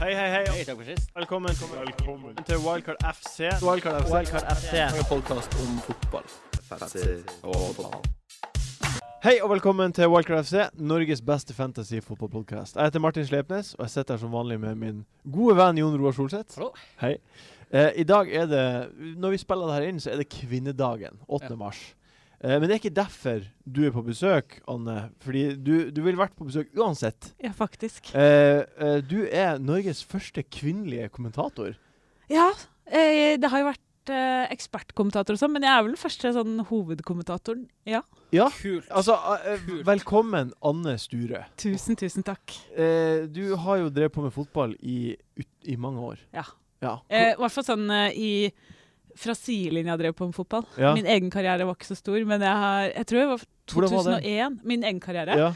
Hei, hei, hei. Hei, takk for sist. Velkommen, til Wildcard FC. Wildcard FC. Wildcard FC. En podkast om fotball. Hei og velkommen til Wildcard FC, Norges beste fantasy-fotballpodkast. Jeg heter Martin Sleipnes, og jeg sitter her som vanlig med min gode venn Jon Roar Solseth. Hallo. Hei. Eh, I dag er det Når vi spiller det her inn, så er det kvinnedagen. 8. Ja. mars. Eh, men det er ikke derfor du er på besøk, Anne. Fordi du, du ville vært på besøk uansett. Ja, faktisk. Eh, eh, du er Norges første kvinnelige kommentator. Ja, eh, det har jo vært eh, ekspertkommentator og sånn, men jeg er vel den første sånn hovedkommentatoren. Ja, Ja. Kult. Altså, eh, eh, Kult. velkommen, Anne Sture. tusen, tusen takk. Eh, du har jo drevet på med fotball i, ut, i mange år. Ja. Ja. Eh, I hvert fall sånn eh, i fra sidelinja jeg drev på med fotball. Ja. Min egen karriere var ikke så stor, men jeg, har, jeg tror det var Hvordan var 2001. min egen karriere. ja.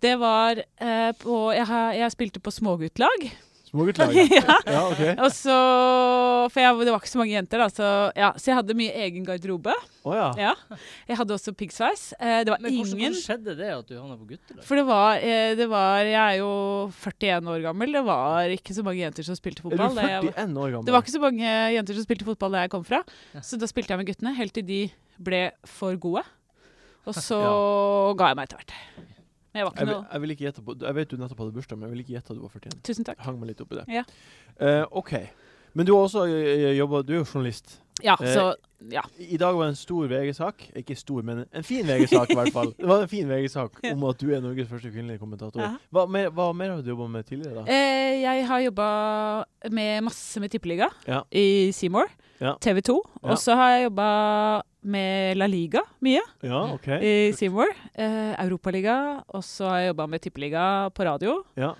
Det var eh, på jeg, har, jeg spilte på småguttlag. Småguttlag. ja. Ja, OK. Og så For jeg, det var ikke så mange jenter, da, så, ja, så jeg hadde mye egen garderobe. Å ja. Ja. Jeg hadde også piggsveis. Eh, det var Men hvordan, ingen hvordan skjedde det at du havna på guttelag? For det var, eh, det var Jeg er jo 41 år gammel. Det var ikke så mange jenter som spilte Er fotball. du da jeg var- 41 år gammel? det var ikke så mange jenter som spilte fotball der jeg kom fra, Ja. så da spilte jeg med guttene helt til de ble for gode. Og så ga jeg meg etter hvert. Men jeg jeg, var ikke vil, noe jeg vil ikke gjette på Jeg vet du nettopp hadde bursdag, men jeg vil ikke gjette at du var 41. Tusen takk. Jeg hang meg litt opp i det. Ja. Eh, OK. Men du har også eh, jobba Du er jo journalist. Ja, Eh, så Ja. I dag var det en stor VG-sak. Ikke stor, men en fin VG-sak, i hvert fall. Det var en fin VG-sak om at du er Norges første kvinnelige kommentator. Ja. Hva, mer, hva mer har du jobba med tidligere, da? Eh, jeg har jobba med masse med Tippeliga Ja. i Seymour, Ja. TV 2. Ja. Og så har jeg jobba med La Liga mye. Ja, OK. i Seymour. Eh, Europaliga. Og så har jeg jobba med tippeliga på radio. Ja.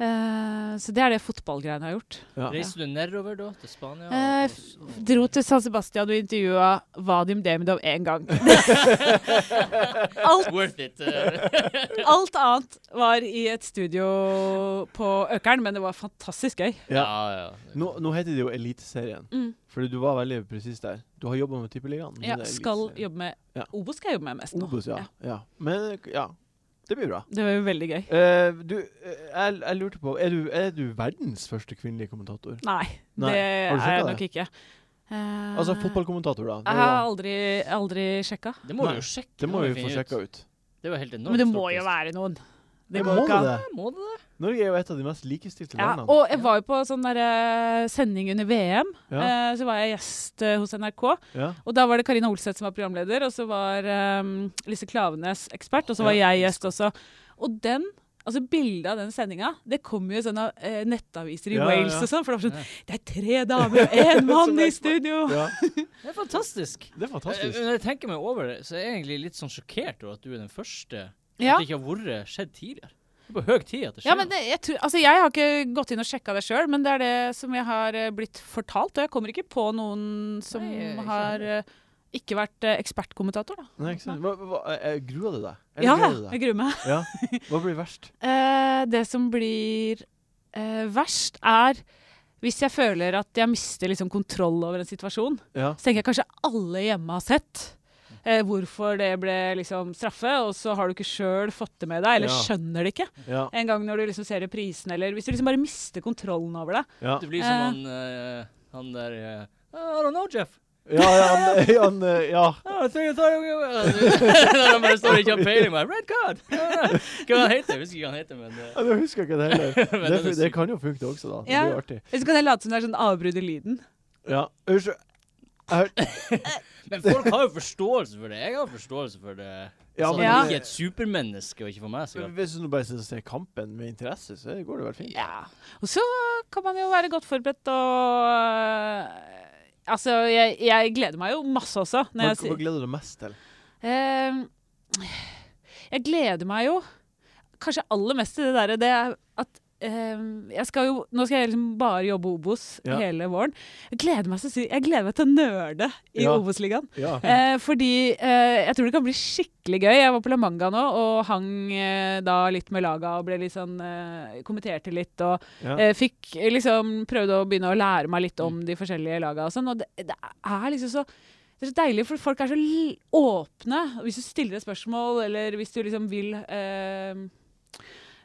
Eh, så det er det fotballgreiene jeg har gjort. ja. Reiste du nedover da, til Spania? Eh, og- f- og- Dro til San Sebastian og intervjua Vadim Demidov én gang. alt, Worth it. eh. alt annet var i et studio på Økeren, men det var fantastisk gøy. Ja. ja. ja. Nå, nå heter det jo Eliteserien, Mm. fordi du var veldig presis der. Du har jobba med Tippeligaen. men Ja, det er skal Eliteserien. jobbe med Ja. Obo skal jeg jobbe med mest nå. Obos, ja. Ja. ja. Men ja, det blir bra. Det var jo veldig gøy. Eh, du, eh, jeg, jeg lurte på er du, er du verdens første kvinnelige kommentator? Nei, Nei. det Har du er sjekket jeg det? nok ikke. Eh, Altså fotballkommentator, da. Jeg har aldri, aldri sjekka. Det må Nei, du jo sjekke. det må vi finne få sjekka ut. Det var helt enormt. Men det stort må jo pris. være noen. Ja, Det må går ikke det an. det? Må det det? Norge er jo et av de mest likestilte Ja, landene. og jeg var jo på sånn der, eh, sending under VM. Ja, Eh, så var jeg gjest eh, hos NRK. ja. Og da var det Karina Olseth som var programleder, og så var ehm, Lise Klavenes ekspert, og så var Ja. jeg gjest også. Og den Altså Bildet av den sendinga kom jo i sånne eh, nettaviser i Ja, ja, Wales ja. og sånn. For det var sånn Det er tre damer og én mann i studio! ja. Det er fantastisk. Det er Eh, fantastisk. Når jeg tenker meg over det, så er jeg egentlig litt sånn sjokkert over at du er den første Ja, at det ikke har vært skjedd tidligere. Det er på høy tid at det skjer. ja men det, jeg, tror, altså, jeg har ikke gått inn og sjekka det sjøl, men det er det som jeg har eh, blitt fortalt. Og jeg kommer ikke på noen som Nei, jeg- ikke har eh, ikke vært eh, ekspertkommentator, da. Nei, ikke sant. Hva, hva, eh, gruer du deg? Eller Ja, gruer du deg? jeg gruer meg. Ja. Hva blir verst? Eh, det som blir eh, verst, er hvis jeg føler at jeg mister liksom kontroll over en situasjon. Ja. Så tenker jeg kanskje alle hjemme har sett eh, hvorfor det ble liksom straffe, og så har du ikke sjøl fått det med deg, eller Ja. skjønner det ikke. Ja. En gang når du liksom ser reprisen, eller hvis du liksom bare mister kontrollen over det. Ja. Det blir som han, eh, han der eh, I don't know, Jeff. Ja, ja, han, han, eh, ja. Ah, I think I thought we were- Når han bare står og ikke har peiling. bare, Red card! Hva han heter Jeg husker ikke hva han heter, men eh, Ja, det husker jeg ikke det heller. Men Det, den er det syk. kan jo funke det også, da. Det Ja. blir jo artig. Eller så kan jeg late som det er sånn avbrudd i lyden. Ja. Unnskyld. Jeg hørte Men folk har jo forståelse for det. Jeg har forståelse for det. Ja, så men han Ja. er ikke et supermenneske, og ikke for meg. Så godt. Hvis du nå bare sitter og ser kampen med interesse, så går det vel fint. Ja. Og så kan man jo være godt forberedt og eh, Altså, jeg, jeg gleder meg jo masse også. Når Hva, jeg, sier- hva gleder du deg mest til? Ehm, jeg gleder meg jo kanskje aller mest til det derre det er at ehm, jeg skal jo, Nå skal jeg liksom bare jobbe Obos Ja. hele våren. Jeg gleder meg, så sy- jeg gleder meg til å nerde i Ja. Obos-ligaen. Ja. Eh, fordi eh, jeg tror det kan bli skikkelig gøy. Jeg var på La Manga nå og hang eh, da litt med laga og ble litt sånn eh, Kommenterte litt og Ja. eh, fikk eh, liksom Prøvde å begynne å lære meg litt om de forskjellige laga og sånn. Og det, det er liksom så det er så deilig, for folk er så l åpne. Og Hvis du stiller et spørsmål, eller hvis du liksom vil eh,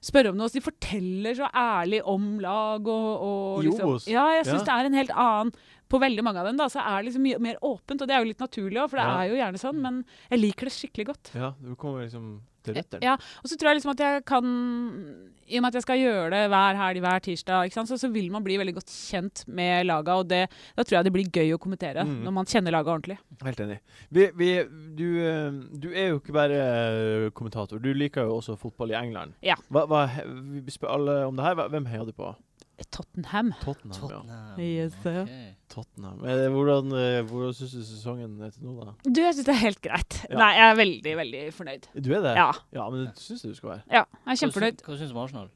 spørre om noe. Så de forteller så ærlig om lag og, og I liksom. Obos? Ja, jeg Ja. syns det er en helt annen På veldig mange av dem da, så er det liksom mye mer åpent, og det er jo litt naturlig òg, for det Ja. er jo gjerne sånn, men jeg liker det skikkelig godt. Ja, du kommer liksom til røttene. Ja, og så tror jeg liksom at jeg kan I og med at jeg skal gjøre det hver helg, hver tirsdag, ikke sant? Så, så vil man bli veldig godt kjent med laga, og det, da tror jeg det blir gøy å kommentere. Mm. Når man kjenner laga ordentlig. Helt enig. Vi, vi, du, eh, du er jo ikke bare eh, kommentator, du liker jo også fotball i England. Ja. Hva, hva, vi spør alle om det her. Hva- Hvem heier du på? Tottenham. Tottenham. ja. Tottenham. Yes, sir. ok. Tottenham. Eh, Hvordan, eh, hvordan syns du sesongen er til nå, da? Du, jeg syns det er helt greit. Ja. Nei, jeg er veldig, veldig fornøyd. Du er det? Ja. ja men det syns jeg du skal være. ja jeg er kjempefornøyd. Hva syns du om Arsenal?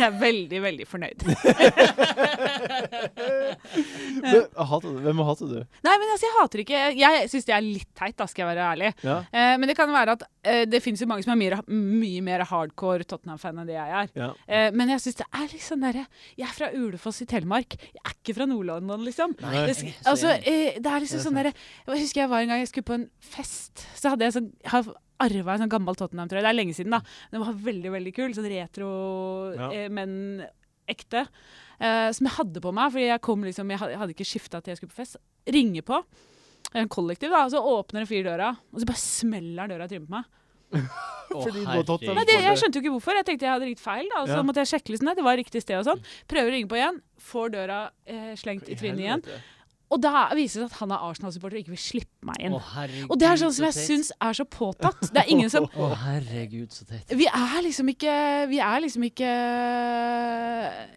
Jeg er veldig, veldig fornøyd. Hvem ah, hater du? Hvem hater du? Nei, men altså, jeg hater ikke Jeg syns det er litt teit, da, skal jeg være ærlig. Ja. Eh, men det kan være at eh, det fins jo mange som er mye, mye mer hardcore Tottenham-fan enn det jeg er. ja. Eh, men jeg syns det er litt sånn derre Jeg er fra Ulefoss i Telemark. Jeg er ikke fra Nord-London, liksom. Nei. Det, jeg er så altså, enig. eh, det er liksom Det er sånn derre Jeg husker jeg var en gang jeg skulle på en fest. Så hadde jeg sånn har arva en sånn gammel Tottenham-trøye. Det er lenge siden, da. Den var veldig, veldig kul. Sånn retro, Ja. eh, men ekte. Eh, som jeg hadde på meg, fordi jeg kom liksom Jeg hadde, jeg hadde ikke skifta til jeg skulle på fest. Ringer på. Det er En kollektiv, da. og Så åpner en fyr døra, og så bare smeller døra i trynet på meg. Å, Fordi du har Tottenham. Nei, herregud. det, jeg skjønte jo ikke hvorfor. Jeg tenkte jeg hadde ringt feil. da, og Så Ja. måtte jeg sjekke liksom, nei, det var riktig sted og sånn. Prøver å ringe på igjen, får døra eh, slengt i trynet igjen. Helvete. Og da viser det seg at han er Arsenal-supporter og ikke vil slippe meg inn. Å, herregud, Og det er sånn som så jeg teit. syns er så påtatt. Det er ingen som Å, herregud, så teit. Vi er liksom ikke Vi er liksom ikke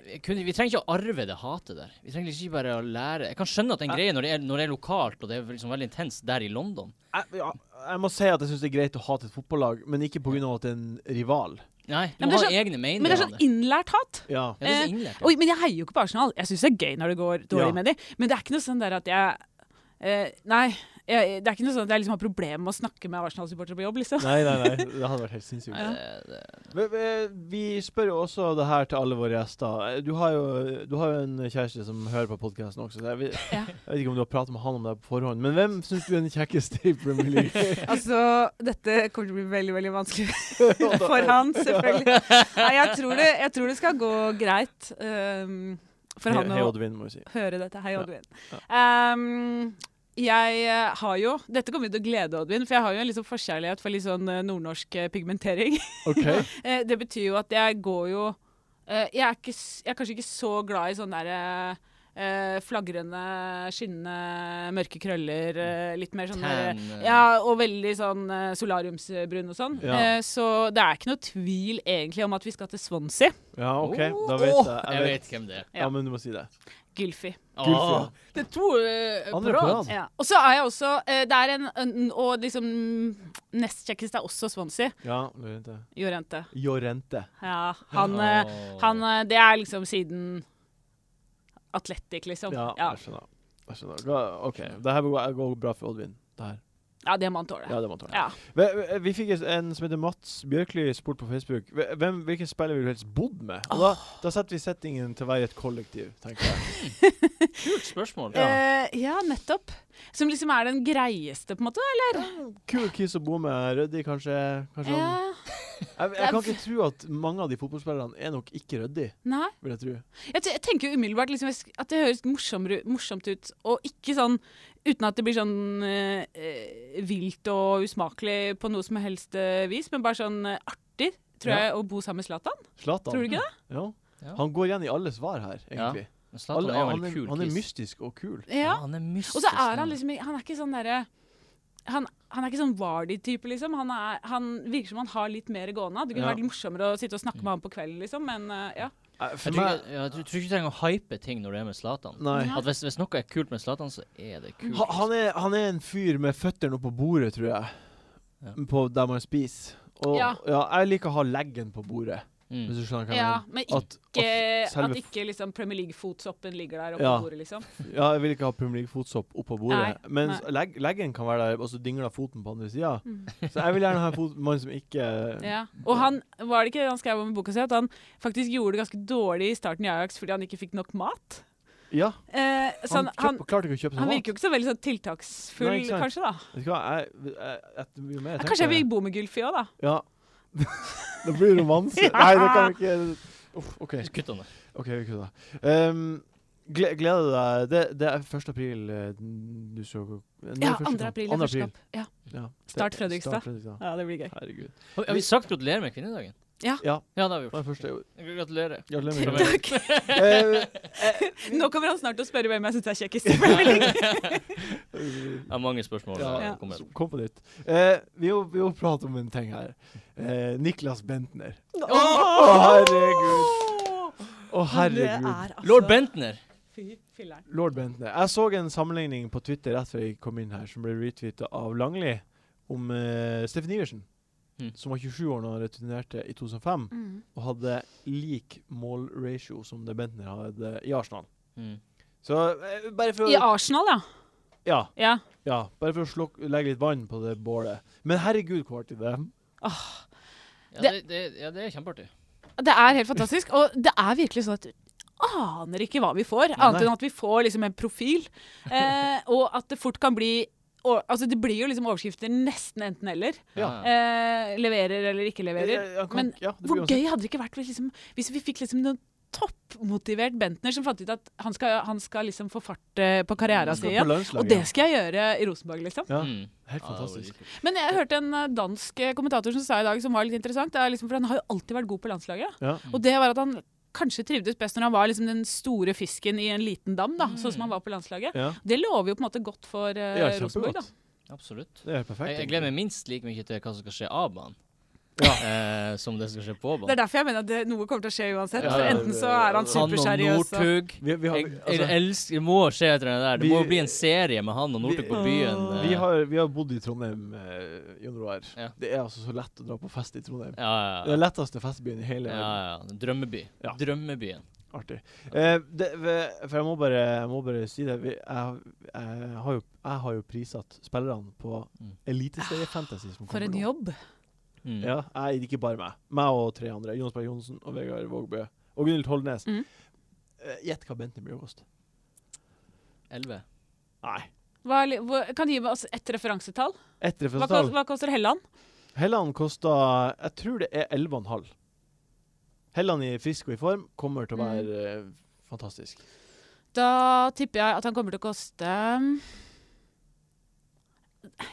Vi kunne- vi trenger ikke å arve det hatet der. Vi trenger liksom ikke bare å lære Jeg kan skjønne at den greia når det er, når det er lokalt, og det er liksom veldig intenst der i London Jeg, ja, jeg må si at jeg syns det er greit å hate et fotballag, men ikke pga. at det er en rival. Nei, du Ja, men må det er ha egne meninger. Men det er sånn om innlært hat. Ja. ja, det er så eh, innlært. Oi, men jeg heier jo ikke på Arsenal. Jeg syns det er gøy når det går dårlig Ja. med dem, men det er ikke noe sånn der at jeg eh, Nei. Jeg, det er ikke noe sånn at jeg liksom har problemer med å snakke med Arsenal-supportere på jobb, liksom. Nei, nei, nei. Det hadde vært helt sinnssykt. Ja. Eh, det- Vi, vi, eh, vi spør jo også det her til alle våre gjester. Eh, Du har jo, du har jo en kjæreste som hører på podkasten også. Så jeg, vet, Ja. jeg vet ikke om du har pratet med han om det her på forhånd, men hvem syns du er den kjekkeste i Premier League? Altså, dette kommer til å bli veldig veldig vanskelig for han, selvfølgelig. Nei, jeg tror det, jeg tror det skal gå greit ehm, for han Hei, å Oddvin, må vi si. høre dette. Hei, Ja. Oddvin. Ehm, jeg eh, har jo Dette kommer jo til å glede Oddvin, for jeg har jo en liksom forkjærlighet for litt sånn eh, nordnorsk eh, pigmentering. OK. Eh, det betyr jo at jeg går jo eh, jeg, er ikke, s- jeg er kanskje ikke så glad i sånne derre eh, flagrende, skinnende, mørke krøller. eh, litt mer sånn derre- Tan, eh. Ja, og veldig sånn eh, solariumsbrun og sånn. Ja. Eh, så det er ikke noe tvil egentlig om at vi skal til Swansea. Ja, OK. Da Oh! Åh, vet jeg. Jeg vet hvem det er. Ja, men du må si det. Gylfi. Gulf, Åh, det er to eh, Andre på på rad. rad. Ja. Og så er jeg også eh, Det er en, en Og liksom nest kjekkest er også Swansea. Ja, Lorente. Jorente. Jorente. Ja, han, eh, Åh. han eh, Det er liksom siden Atletic, liksom. Ja, ja. jeg skjønner. Jeg skjønner. Ga- OK. Det her går går bra for Oddvin. Det her. ja det må han tåle. Ja, det må han tåle. Ja. Vi, vi- vi fikk en som heter Mats Bjørkli spurt på Facebook Hve- hvem, hvilken spiller ville du helst bodd med. Og da, da setter vi settingen til å være et kollektiv, tenker jeg. Kult spørsmål. Ja. Eh, ja, nettopp. Som liksom er den greieste, på en måte. Kul kiss å bo med. Røddi, kanskje. kanskje han. Ja. Jeg, jeg kan ikke tro at mange av de fotballspillerne er nok ikke røddi, Nei. vil jeg tro. Jeg, te- jeg tenker jo umiddelbart liksom, jeg sk- at det høres morsommere, morsomt ut, og ikke sånn uten at det blir sånn eh, eh, vilt og usmakelig på noe som helst eh, vis, men bare sånn eh, artig, tror Ja. jeg, å bo sammen med Zlatan. Zlatan. Tror du ikke det? Ja. Ja. Han går igjen i alle svar her, egentlig. Alle, Men Zlatan er jo han, en er, kul han er kiss. mystisk og kul. Ja. Han er mystisk. Og så er han liksom Han er ikke sånn derre han, han er ikke sånn Vardy-type, liksom. Han, er, han virker som han har litt mer gående. Det kunne Ja. vært litt morsommere å sitte og snakke med ham på kvelden, liksom, men eh, ja. Eh, For Jeg tror, meg ikke, ja, jeg tror tror ikke du trenger å hype ting når du er med Zlatan. Nei. At hvis, hvis noe er kult med Zlatan, så er det kult. Ha- Han er, han er en fyr med føttene oppå bordet, tror jeg. Ja. På der man spiser. Og ja. Ja. jeg liker å ha leggen på bordet, Mm. hvis du skjønner hva jeg ja mener. men ikke, At, at at selve ikke liksom Premier League-fotsoppen ligger der oppe Ja. på bordet, liksom. Ja, jeg vil ikke ha Premier League-fotsopp oppå bordet. Nei, Mens leg, leggen kan være der, og så dingler foten på andre sida. Mm. Så jeg vil gjerne ha en fot, mann som ikke Ja. Og han var det ikke han skrev om i boka si at han faktisk gjorde det ganske dårlig i starten i Ajax fordi han ikke fikk nok mat. Ja, Eh, så han, han, han, kjøp, klarte ikke å kjøpe seg han mat. virker jo ikke så veldig sånn tiltaksfull, Nei, ikke sant. kanskje. da Vet du hva, jeg, jeg, jeg, jo mer jeg Kanskje tenker- jeg vil bo med Gylfi òg, da. ja, Det blir romanse. Nei, det kan vi ikke Uff, OK. Kutt han det. Ok, vi kødda. Um, gle gleder deg. Det, det er 1. april eh, du så Nei, Ja, første 2. kamp. april er Andre første kamp. Ja. Ja. Start Fredrikstad. Start Fredrikstad. ja, det blir gøy. Herregud. Har har vi sagt gratulerer med kvinnedagen? Ja. Ja. Ja, det har vi Det var gjort. den første jeg gjorde. Gratulerer. Gratulerer med Takk. dagen. Nå kommer han snart til å spørre hvem jeg syns er kjekkest. Jeg har mange spørsmål. Eh, Ja, Ja. Ja. Kom igjen. Kom på nytt. Eh, vi, må, vi må prate om en ting her. Eh, Niklas Bentner. Å, herregud. Å, herregud. Lord Bentner. altså Fy filleren. Lord Bentner. Jeg så en sammenligning på Twitter rett før jeg kom inn her, som ble retweetet av Langli, om eh, Steffen Iversen, Mm. som var 27 år da han returnerte i 2005, Mm. og hadde lik målratio som det Bentner hadde i Arsenal. Mm. Så eh, bare for å I Arsenal, ja. Ja, ja. ja, bare for å slok- legge litt vann på det bålet. Men herregud, hvor artig det er. Ja, det, Det- det, ja, det er kjempeartig. Det er helt fantastisk. Og det er virkelig sånn at vi aner ikke hva vi får, annet nei. enn at vi får liksom en profil. Eh, og at det fort kan bli og, altså Det blir jo liksom overskrifter nesten enten-eller. Ja. Eh, leverer eller ikke leverer. Eh, han kan- Men ja, det blir Hvor uansett- gøy hadde det ikke vært hvis, liksom, hvis vi fikk liksom noen toppmotivert Bentner som fant ut at han skal, han skal liksom få fart eh, på Han skal karrieren sin på igjen. landslaget. Og det skal jeg gjøre i Rosenborg, liksom. Ja, Mm. helt Ja, det var fantastisk. dritkult. Men jeg hørte en eh, dansk eh, kommentator som sa i dag, som var litt interessant, det er liksom, for han har jo alltid vært god på landslaget. Ja. Og det var at han kanskje trivdes best når han var liksom den store fisken i en liten dam, da, sånn som han var på landslaget. Ja, Det lover jo på en måte godt for eh, Ja, kjempegodt. Rosenborg, da. Absolutt. det er helt perfekt. Jeg, jeg gleder meg minst like mye til hva som skal skje av banen, Ja. eh, som det som skal skje på Det banen. er derfor jeg mener at det, noe kommer til å skje uansett. Ja, for ja, Enten det- så er han Han og superseriøs og Northug. Vi, vi, har, Jeg, jeg altså, elsker Det må skje etter det der. Det Vi- må bli en serie med han og Northug på vi- byen. eh. vi, har, vi har bodd i Trondheim eh, i januar. Ja. Det er altså så lett å dra på fest i Trondheim. Ja, ja, Det ja. er letteste festbyen i hele ja, verden. ja. Drømmeby. Ja. Drømmebyen. Artig. Eh, det, ve- for jeg må bare, jeg må bare si det. Vi, jeg, jeg, har jo, jeg har jo prissatt spillerne på Mm. Eliteserie Fantasy. Som For kommer en nå. jobb. Mm. Ja, jeg, ikke bare meg. Meg og tre andre. Jonas Berg Johnsen og Vegard Vågbø. Og Gunhild Tollnes. Mm. Eh, Gjett hva Bentner blir å koste. 11. Nei. Hva, er li- hvor- kan du gi oss ett referansetall? Ett Hva, kos- referansetall. hva koster Helland? Helland kosta Jeg tror det er 11,5. Helland i frisk og i form kommer til å Mm. være eh, fantastisk. Da tipper jeg at han kommer til å koste eh,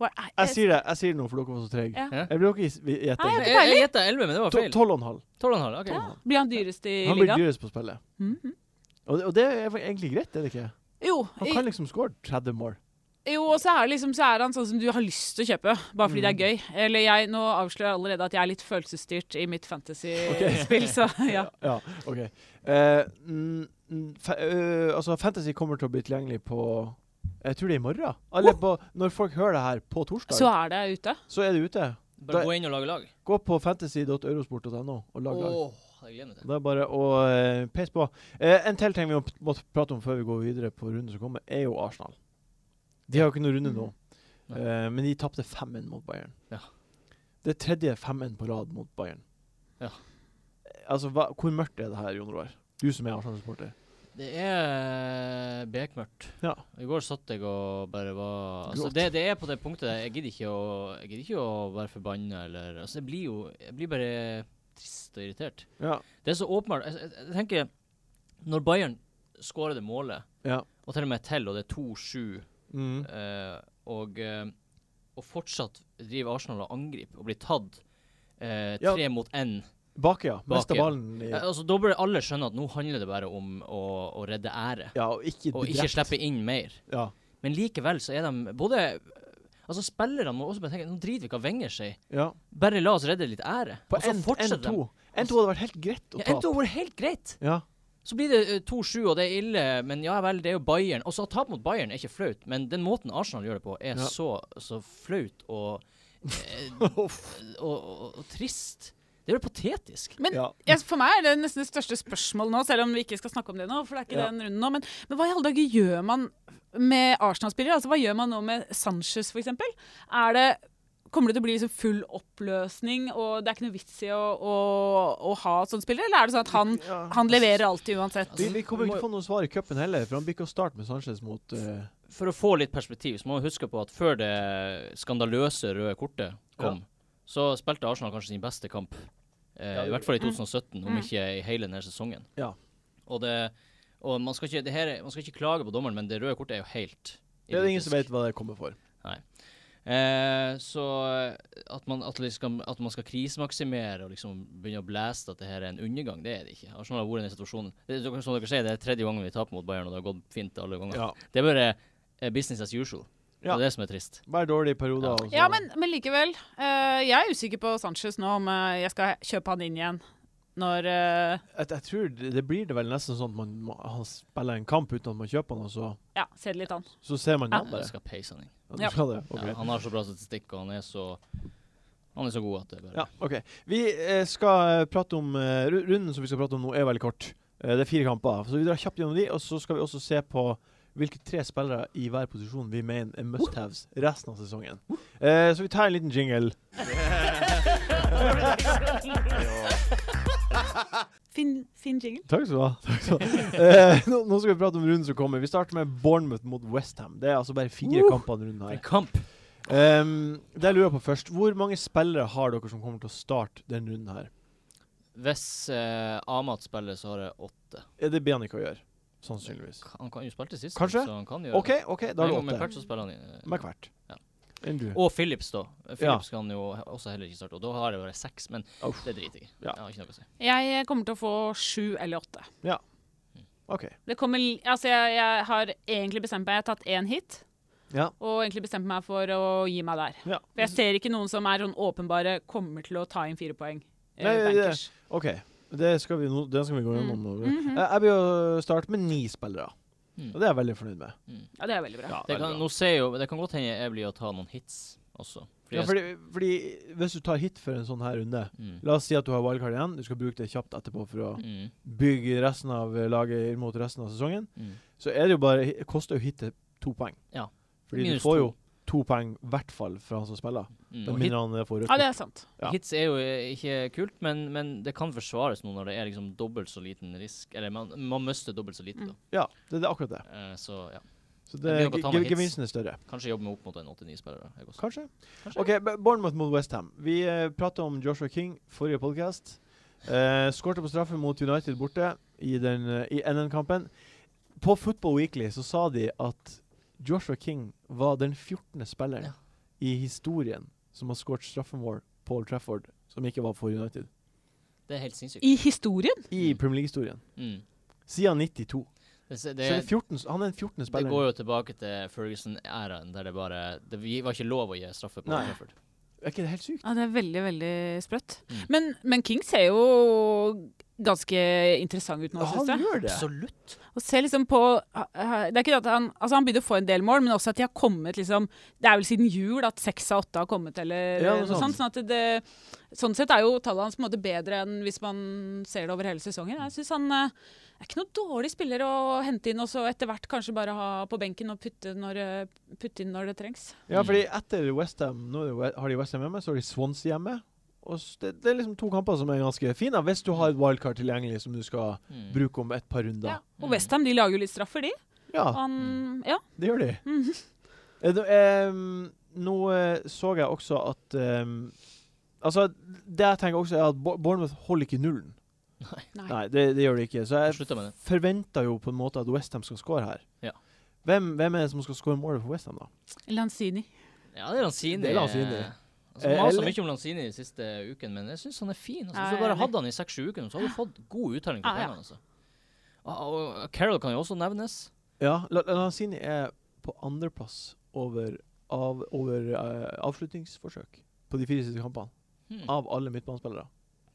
Hva er Jeg sier det jeg sier det nå, for dere var så trege. Ja. Jeg blir ikke gi- gjette. Nei, Jeg, ikke jeg gjetta 11, men det var To- feil. 12,5. 12,5. ok. Ja. Blir han dyrest i Han blir ligaen? dyrest på spillet. Mhm. Og det, og det er egentlig greit, er det ikke? Jo, Han i- kan liksom score 30 mål. jo, og så er, det liksom, så er han sånn som du har lyst til å kjøpe, bare fordi det er gøy. Eller jeg, nå avslører jeg allerede at jeg er litt følelsesstyrt i mitt fantasy-spill, så ja. Ja, OK. Eh, mm, mm, fa øh, altså, Fantasy kommer til å bli tilgjengelig på Jeg tror det er i morgen. Eller på, når folk hører det her på torsdag, Oh! Så så, er det ute. er det ute. Bare Da- gå inn og lage lag. Gå på fantasy.eurosport.no og lag lag. Åh, jeg gleder meg til det. Det er bare å eh, peise på. Eh, en til ting vi må p- må prate om før vi går videre på runden som kommer, er jo Arsenal. De har jo ikke noen runde nå, Nei. Eh, men de tapte 5-1 mot Bayern. Mm. Ja. Det er tredje 5-1 på rad mot Bayern. Ja. Eh, Altså, hva, Hvor mørkt er det her, Jon Roar? Du som er Arsenal-supporter. Det er bekmørkt. Ja. I går satt jeg og bare var altså, Gråt. det, det er på det punktet der. Jeg gidder ikke å, jeg gidder ikke å være forbanna eller altså, Jeg blir jo jeg blir bare trist og irritert. Ja. Det er så åpenbart. Jeg, jeg, jeg tenker Når Bayern skårer det målet, Ja. og til og med til, og det er 2-7 Mm. Eh, og, eh, og fortsatt driver Arsenal og angriper og blir tatt eh, Ja. tre mot én. Bakia mista Bakia. ballen i Eh, altså, da burde alle skjønne at nå handler det bare om å, å redde ære. Ja, og ikke Og ikke slippe inn mer. Ja. Men likevel så er de både Altså, spillerne må også bare tenke Nå driter vi ikke av Wenger seg. ja. Bare la oss redde litt ære. På Og så N- Altså, fortsetter de. N2. N2 hadde vært helt greit å Ja, N2 tape. går helt greit. Ja. Så blir det eh, 2-7, og det er ille, men ja vel, det er jo Bayern. Og så tap mot Bayern er ikke flaut, men den måten Arsenal gjør det på, er Ja. så, så flaut og, eh, og, og, og trist. Det er jo patetisk. Men Ja. jeg- for meg er det nesten det største spørsmålet nå, selv om vi ikke skal snakke om det nå, for det er ikke Ja. den runden nå. Men, men hva i alle dager gjør man med Arsenal-spillere? Altså, hva gjør man nå med Sanchez, for eksempel? Er det Kommer det til å bli liksom full oppløsning, og det er ikke noe vits i å, å, å ha sånne spillere? Eller er det sånn at han, Ja. han leverer alltid uansett? Vi, vi kommer ikke til å få noe svar i cupen heller, for han blir ikke å starte med Sanchez mot eh, For å få litt perspektiv, så må man huske på at før det skandaløse røde kortet kom, så spilte Arsenal kanskje sin beste kamp. Eh, Ja, det I hvert fall i gjorde 2017, om Mm. ikke i hele denne sesongen. Ja. Og, det, og man, skal ikke, det her, er- man skal ikke klage på dommeren, men det røde kortet er jo helt Det er det ingen som idiotisk. vet hva det kommer for. Eh, så at man, at, liksom, at man skal krisemaksimere og liksom begynne å blæste at det her er en undergang, det er det ikke. Arsenal har vært i den situasjonen. Det, er- som dere sier, det er tredje gangen vi taper mot Bayern, og det har gått fint alle ganger. Ja. Det er bare eh, business as usual. Ja. Det er det som er trist. Bare altså. dårlige perioder. Ja. og så- Ja, men, men likevel. eh, jeg er usikker på Sanchez nå, om eh, jeg skal kjøpe han inn igjen når eh, jeg, jeg tror det, det blir det vel nesten sånn at man, må- han spiller en kamp uten at man kjøper han, og så, Ja, se det litt an. så ser man Ja. det Jeg andre. skal peise han inn. Ja, du Ja. skal det. ok. Ja, han har så bra statistikk, og han er så Han er så god at det bare Ja, ok. Vi eh, skal eh, prate om eh, ru- Runden som vi skal prate om nå, er veldig kort. Eh, det er fire kamper, så vi drar kjapt gjennom de, og så skal vi også se på hvilke tre spillere i hver posisjon vi mener er must-haves resten av sesongen. Eh, så vi tar en liten jingle. Fin, fin jingle. Takk skal du ha. Takk skal du ha. Eh, nå, nå skal vi prate om runden som kommer. Vi starter med Bournemouth mot Westham. Det er altså bare fire Uh. kamper denne runden her. En kamp! Um, det jeg lurer på først, hvor mange spillere har dere som kommer til å starte denne runden her? Hvis eh, Amat spiller, så har jeg åtte. Er det Bianica gjør? Sannsynligvis. Han kan jo spilte sist, Kanskje? så han kan gjøre OK, ok, da er det Med åtte. hvert så spiller han eh, Med hvert. Ja. Enn du. Og Philips, da. Ja. Philips kan jo he- også heller ikke starte. Og da har jeg bare seks, men Uff. det driter jeg i. Ja. Jeg har ikke noe å si. Jeg kommer til å få sju eller åtte. OK. Det kommer, l- altså jeg, jeg har egentlig bestemt meg. Jeg har tatt én hit. Ja. Og egentlig bestemt meg for å gi meg der. Ja. For jeg ser ikke noen som er sånn åpenbare kommer til å ta inn fire poeng. eh, Nei, det- bankers. ok. Det skal vi, no det skal vi gå gjennom nå. Eh, Mhm. Jeg- Jeg blir å starte med ni spillere, Mm. og det er jeg veldig fornøyd med. Ja, det er veldig bra. Det kan, nå ser jeg jo, det kan godt hende jeg blir å ta noen hits også. Fordi Ja, jeg- fordi, fordi hvis du tar hit for en sånn her runde mm. La oss si at du har wildcard igjen. Du skal bruke det kjapt etterpå for å Mm. bygge resten av eh, laget inn mot resten av sesongen. Mm. så er det jo bare det koster jo hit til to poeng. Ja. Fordi Minus du får to. jo to poeng i hvert fall fra han som spiller. Mm. Med Og hit, mindre han eh, får rødt. Ja, det er sant. ja. hits er jo eh, ikke kult, men, men det kan forsvares nå når det er liksom dobbelt så liten risk. Eller man, man mister dobbelt så lite, da. Mm. ja, det, det er akkurat det. Eh, så ja. Så det, Jeg blir nok å ta ge- med hits. gevinsten er større. Kanskje jobbe meg opp mot en 89-spiller. jeg også. Kanskje. Kanskje. OK, B- Bournemouth mot Westham. Vi eh, prata om Joshua King forrige podkast. Eh, Skårte på straffe mot United borte i, den, eh, i NN-kampen. På Football Weekly så sa de at Joshua King var den 14. spilleren Ja. i historien som har skåret straffemål på Old Trafford, som ikke var for United. Mm. Det er helt sinnssykt. I historien? I Mm. Premier League-historien. Mm. Siden 92. Det, det, så det er 14, s- han er den 14. Det går spilleren. jo tilbake til Ferguson-æraen, der det bare Det vi- var ikke lov å gi straffe på Nei. Old Trafford. Er ikke det helt sykt? Ja, det er veldig, veldig sprøtt. Mm. Men, men King ser jo ganske interessant ut nå, syns han jeg. gjør det! Absolutt. Og ser liksom på Det er ikke det at han Altså, han begynte å få en del mål, men også at de har kommet liksom Det er vel siden jul at seks av åtte har kommet, eller Ja, noe noe sånt. sånt. Sånn, at det, sånn sett er jo tallet hans på en måte bedre enn hvis man ser det over hele sesongen. Jeg syns han eh, er ikke noen dårlig spiller å hente inn, og så etter hvert kanskje bare ha på benken og putte, når, eh, putte inn når det trengs. Ja, Mm. fordi etter Westham Nå er det We- har de Westham hjemme, så har de Swansea hjemme. Og s- det, det er liksom to kamper som er ganske fine, hvis du har et wildcard tilgjengelig som du skal Mm. bruke om et par Ja. runder. Og Westham lager jo litt straffer, de. Ja, Han, ja. det gjør de. Mm. Mhm. Eh, nå, em, nå eh, så jeg også at em, Altså, det jeg tenker også, er at Bo- Bournemouth holder ikke nullen. Nei. Nei, det, det gjør de ikke. Så jeg Slutta med det. forventer jo på en måte at Westham skal score her. Ja. Hvem, hvem er det som skal score målet for Westham, da? Lanzini. Ja, det er Lanzini. Det er Lanzini. Eh, Altså, Eh, man har så eller- mye om Lanzini de siste uken, men jeg syns han er fin. Altså. Ja, Hvis jeg du er bare enig. hadde han i seks-sju uker, nå, så hadde du fått god uttelling på Ja, ja. pengene. Altså. Og, og Carol kan jo også nevnes. Ja, La- La- Lanzini er på andreplass over, av, over eh, avslutningsforsøk på de fire siste kampene. Mm. Hmm. Av alle midtbanespillere.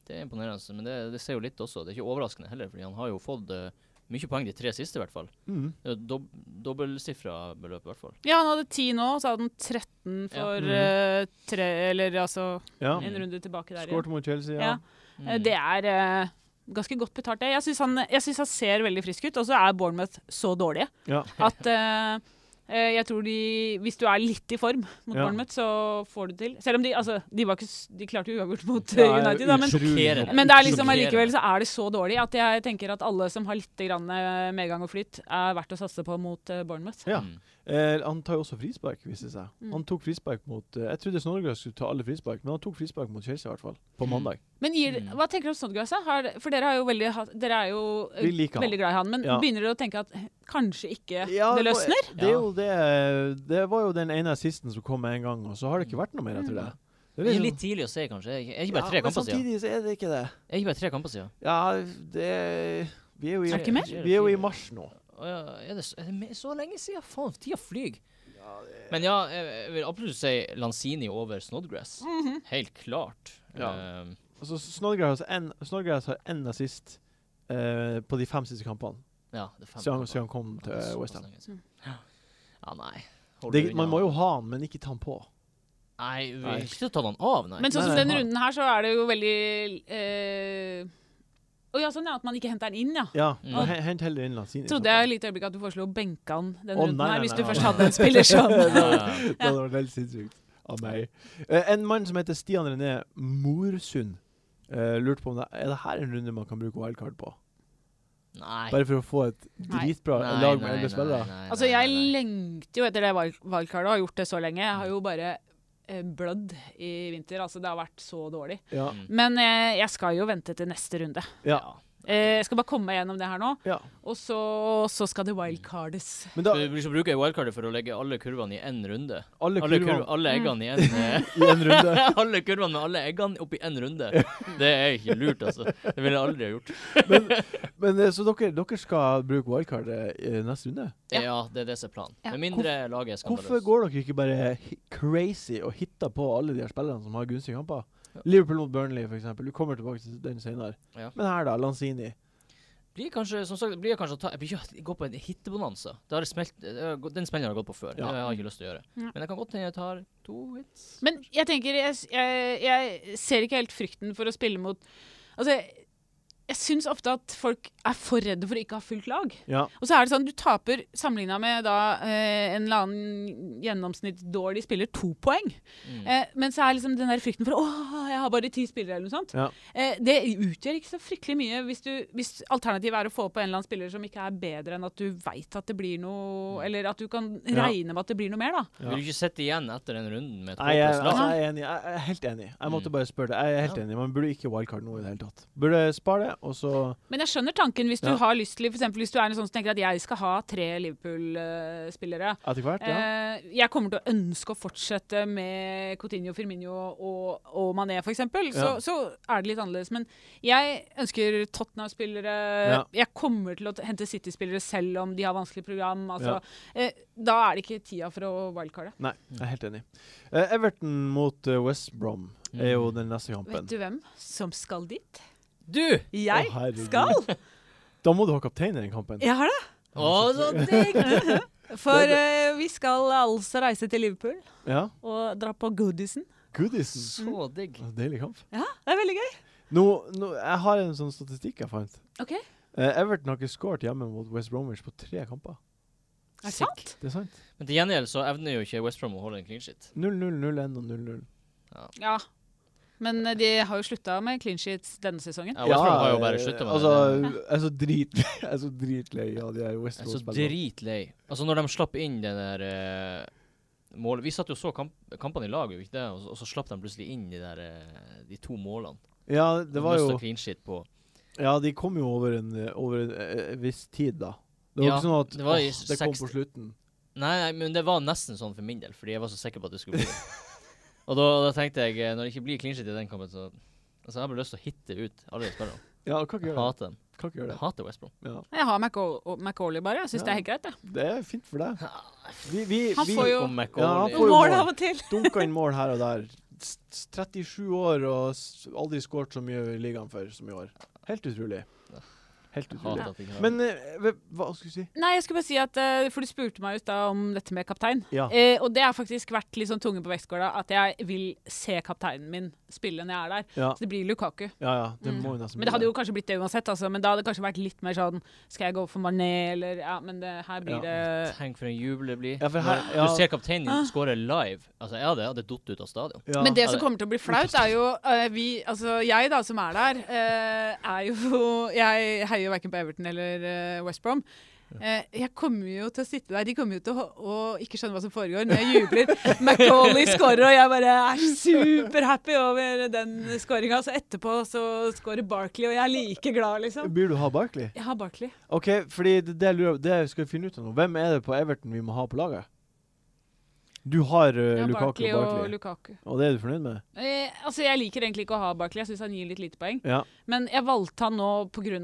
Det er imponerende, altså, men det, det ser jo litt også. Det er ikke overraskende heller, Fordi han har jo fått eh, mye poeng de tre siste, i hvert fall. Mm. Det er jo dob Dobbeltsifra beløp, i hvert fall. Ja, han hadde ti nå, og så hadde han 13 for Ja. Mhm. eh, tre Eller altså Ja. Mm. en runde tilbake der igjen. Skåret mot Chelsea, ja. Ja. Eh, Hmm. Det er eh, ganske godt betalt, det. Jeg syns han, jeg synes han ser veldig frisk ut, og så er Bournemouth så dårlige ja. at eh, Eh, Jeg tror de, Hvis du er litt i form mot Ja. Bournemouth, så får du til. Selv om de altså, de, var ikke, s- de klarte jo uavgjort mot eh, Ja, jeg er United, da, men, utrolig Sjokkerende. opp- men det er liksom sjokkerende. allikevel så er det så dårlig at jeg tenker at alle som har litt grann eh, medgang og flyt, er verdt å satse på mot eh, Bournemouth. Ja. Mm. Eh, han tar jo også frispark, viser det seg. Mm. Han tok frispark mot eh, Jeg trodde Snorregrøs skulle ta alle frispark, men han tok frispark mot Chelsea i hvert fall. På Mm. mandag. Men gir, Mm. hva tenker du om Snodgrass? For dere, har jo veldig, hatt- dere er jo eh, Vi liker han. veldig glad i han. Men Ja. begynner dere å tenke at eh, kanskje ikke Ja, det løsner? Det er Ja. jo det Det var jo den ene assisten som kom med en gang, og så har det ikke vært noe mer etter Mm. det. Det Det er liksom- litt tidlig å si, kanskje. Er ikke- Er ikke bare tre ja, men kamper siden? samtidig så er det ikke det. Er ikke bare tre kamper siden? Ja, det Vi er jo i, Er det ikke mer? Vi er jo i mars nå. Å ja, er det, så- er det me- så lenge siden? Faen, tida flyr. Men ja, jeg jeg vil absolutt si Lanzini over Snodgrass. Mhm. Helt klart. Ja. Ehm, Altså, Snodgrass har en- Snodgrass har én assist eh, på de fem siste kampene ja det er fem siden han, kamper. siden han kom Ja, det er til såpass West Ham. lenge siden. Ja, nei. Holder Det, du man unna? må jo ha han, men ikke ta han på. Nei, vi Nei. har ikke tatt han av, nei. Men sånn Nei, som nei, denne har- runden her, så er det jo veldig eh, Å ja, sånn ja, at man ikke henter den inn, ja. Ja, Mm. og he- Hent heller inn Lanzini. Trodde jeg et lite øyeblikk at du foreslo å benke han denne Å, runden nei, her, nei, hvis nei, du nei. først hadde en spiller som Ja. Det hadde vært helt sinnssykt av meg. Eh, en mann som heter Stian René Morsund, eh, lurte på om det er det her en runde man kan bruke wildcard på. Nei. Bare for å få et Nei. dritbra Nei, lag med nei, nei, elleve spillere. nei, Altså, nei, jeg nei. lengter jo etter det val- valgkartet og har gjort det så lenge. Jeg har jo bare eh, blødd i vinter. Altså, det har vært så dårlig. Ja, Mm. Men eh, jeg skal jo vente til neste runde. ja, Eh, jeg skal bare komme meg gjennom det her nå, ja. og så, så skal det wildcardes. Men da, Du vil ikke bruke wildcardet for å legge alle kurvene i én runde? alle Alle, kurv, kurvene Mm. alle eggene i en eh, i en runde. Alle kurvene med alle eggene oppi én runde. Det er ikke lurt, altså. Det ville jeg aldri ha gjort. Men eh, Så dere, dere skal bruke wildcard eh, i neste runde? Ja. Ja, det er det som er planen. Ja. Med mindre laget er skandaløst. Hvorfor går dere ikke bare hi- crazy og hitter på alle de her spillerne som har gunstige kamper? Liverpool mot Burnley, for eksempel Du kommer tilbake til den senere. Ja. Men her, da. Lanzini. Blir kanskje, som sagt, blir jeg kanskje å ta, jeg blir ikke å gå på en hittebonanza. Det har jeg smelt, det har gått- den smellen har jeg gått på før. Ja. Det har jeg ikke lyst til å gjøre. Ja. Men jeg kan godt hende jeg tar to hits. Men jeg tenker jeg, s- jeg, jeg ser ikke helt frykten for å spille mot Altså, jeg, jeg syns ofte at folk er for redde for å ikke ha fullt lag. Ja. Og så er det sånn, du taper sammenligna med da eh, en eller annen gjennomsnittsdårlig spiller to poeng. Mm. Eh, men så er liksom den der frykten for åh, jeg har bare ti spillere eller noe sånt. Ja. Eh, det utgjør ikke så fryktelig mye hvis, du, hvis alternativet er å få på en eller annen spiller som ikke er bedre enn at du veit at det blir noe Eller at du kan Mm. Ja. regne med at det blir noe mer, da. Ja. Vil du ikke sitte igjen etter den runden med et Nei, jeg, håpløst lag? altså, jeg er enig. Jeg jeg er helt enig. Jeg måtte Mm. bare spørre deg. Jeg er helt Ja. enig. Man burde ikke wildcard nå i det hele tatt. Burde spare det, og så Men jeg skjønner tanken hvis du Ja. har lyst til for eksempel, Hvis du er en sånn som tenker at jeg skal ha tre Liverpool-spillere. etter hvert. Ja. Eh, jeg kommer til å ønske å fortsette med Coutinho, Firmino og, og Mané f.eks. Så, Ja. så er det litt annerledes. Men jeg ønsker Tottenham-spillere. Ja. Jeg kommer til å t- hente City-spillere selv om de har vanskelig program. Altså, Ja. eh, da er det ikke tida for å wildcarde. Nei, jeg er helt enig. Eh, Everton mot eh, West Brom er jo den neste kampen. Vet du hvem som skal dit? altså- Du! Jeg Å, herregud. skal! Da må du ha kaptein i den kampen. Jeg har det. Å, så digg! For eh, vi skal altså reise til Liverpool. Ja. og dra på Goodison. Goodison. Så digg. Deilig kamp. Ja, det er veldig gøy. Nå, nå, jeg har en sånn statistikk jeg fant. Ok. Eh, Everton har ikke skåret hjemme mot West Bromwich på tre kamper. Er det Sick. sant? Det er sant. Men til gjengjeld så evner jo ikke West Brom å holde en clean shit. 0-0-0-1 og 0-0. Ja. Men eh, de har jo slutta med clean sheets denne sesongen. Ja, West Brom har jo bare sluttet med altså, det. Jeg er så drit- jeg er så dritlei av de her West Jeg er så Brom-spillerne. dritlei. Altså, når de slapp inn det der eh, målet Vi satt jo og så kamp kampene i lag, gjorde vi ikke det? Og, så- og så slapp de plutselig inn de der eh, de to målene. Ja, det var jo Mista clean shit på Ja, de kom jo over en, over en eh, viss tid, da. Det var Ja, ikke sånn at det var i åh, det kom 60. på slutten. Nei, nei, men det var nesten sånn for min del, fordi jeg var så sikker på at det skulle bli det. Og da, da tenkte jeg, eh, når det ikke blir clean shit i den kampen, så Altså, jeg har bare lyst til å hitte ut alle de spillerne. Ja, kan ikke Jeg gjøre det. hater dem. Kan ikke gjøre Jeg det. hater West Brom. Ja. Jeg har McAuley bare. Jeg syns Ja. det er helt greit. jeg. Det er fint for deg. Vi, vi, Han vi får jo- Kom Ja, McAuley. han får jo mål. og til. dunka inn mål her og der. S- s- 37 år og s- aldri skåret så mye i ligaen før som i år. Helt utrolig. Helt utrolig. Hater at de ikke har Men eh, hva- hva skulle du si? Nei, jeg skulle bare si at eh, For du spurte meg ut da om dette med kaptein. Ja. Eh, og det har faktisk vært litt sånn tunge på vektskåla at jeg vil se kapteinen min spille når jeg er der. Ja, Så det blir Lukaku. ja. ja det Mm. må jo nesten Men det hadde jo kanskje blitt det uansett, altså. Men da hadde det kanskje vært litt mer sånn Skal jeg gå for Mané, eller Ja, men det, her blir det Tenk for en jubel det blir. Eh. Ja, for her- Når ja. Du ser kapteinen Ah. din skåre live. Altså, jeg hadde, jeg hadde datt ut av stadion. ja. Men det som det- kommer til å bli flaut, er jo eh, vi Altså, jeg da, som er der, eh, er jo Jeg heier jo verken på Everton eller eh, West Brom. Eh, jeg kommer jo til å sitte der. De kommer jo til å, å ikke skjønne hva som foregår når jeg jubler. Macauley scorer, og jeg bare er superhappy over den scoringa. Så etterpå så scorer Barkley, og jeg er like glad, liksom. Burde du ha Barkley? Jeg har Barkley. OK, fordi det, det, jeg lurer, det skal vi finne ut av nå. Hvem er det på Everton vi må ha på laget? Du har eh, Jeg har Lukaku Barkley og Barkley. og Lukaku. Og det er du fornøyd med? Eh, altså Jeg liker egentlig ikke å ha Barkley, jeg syns han gir litt lite poeng. Ja. Men jeg valgte han nå pga.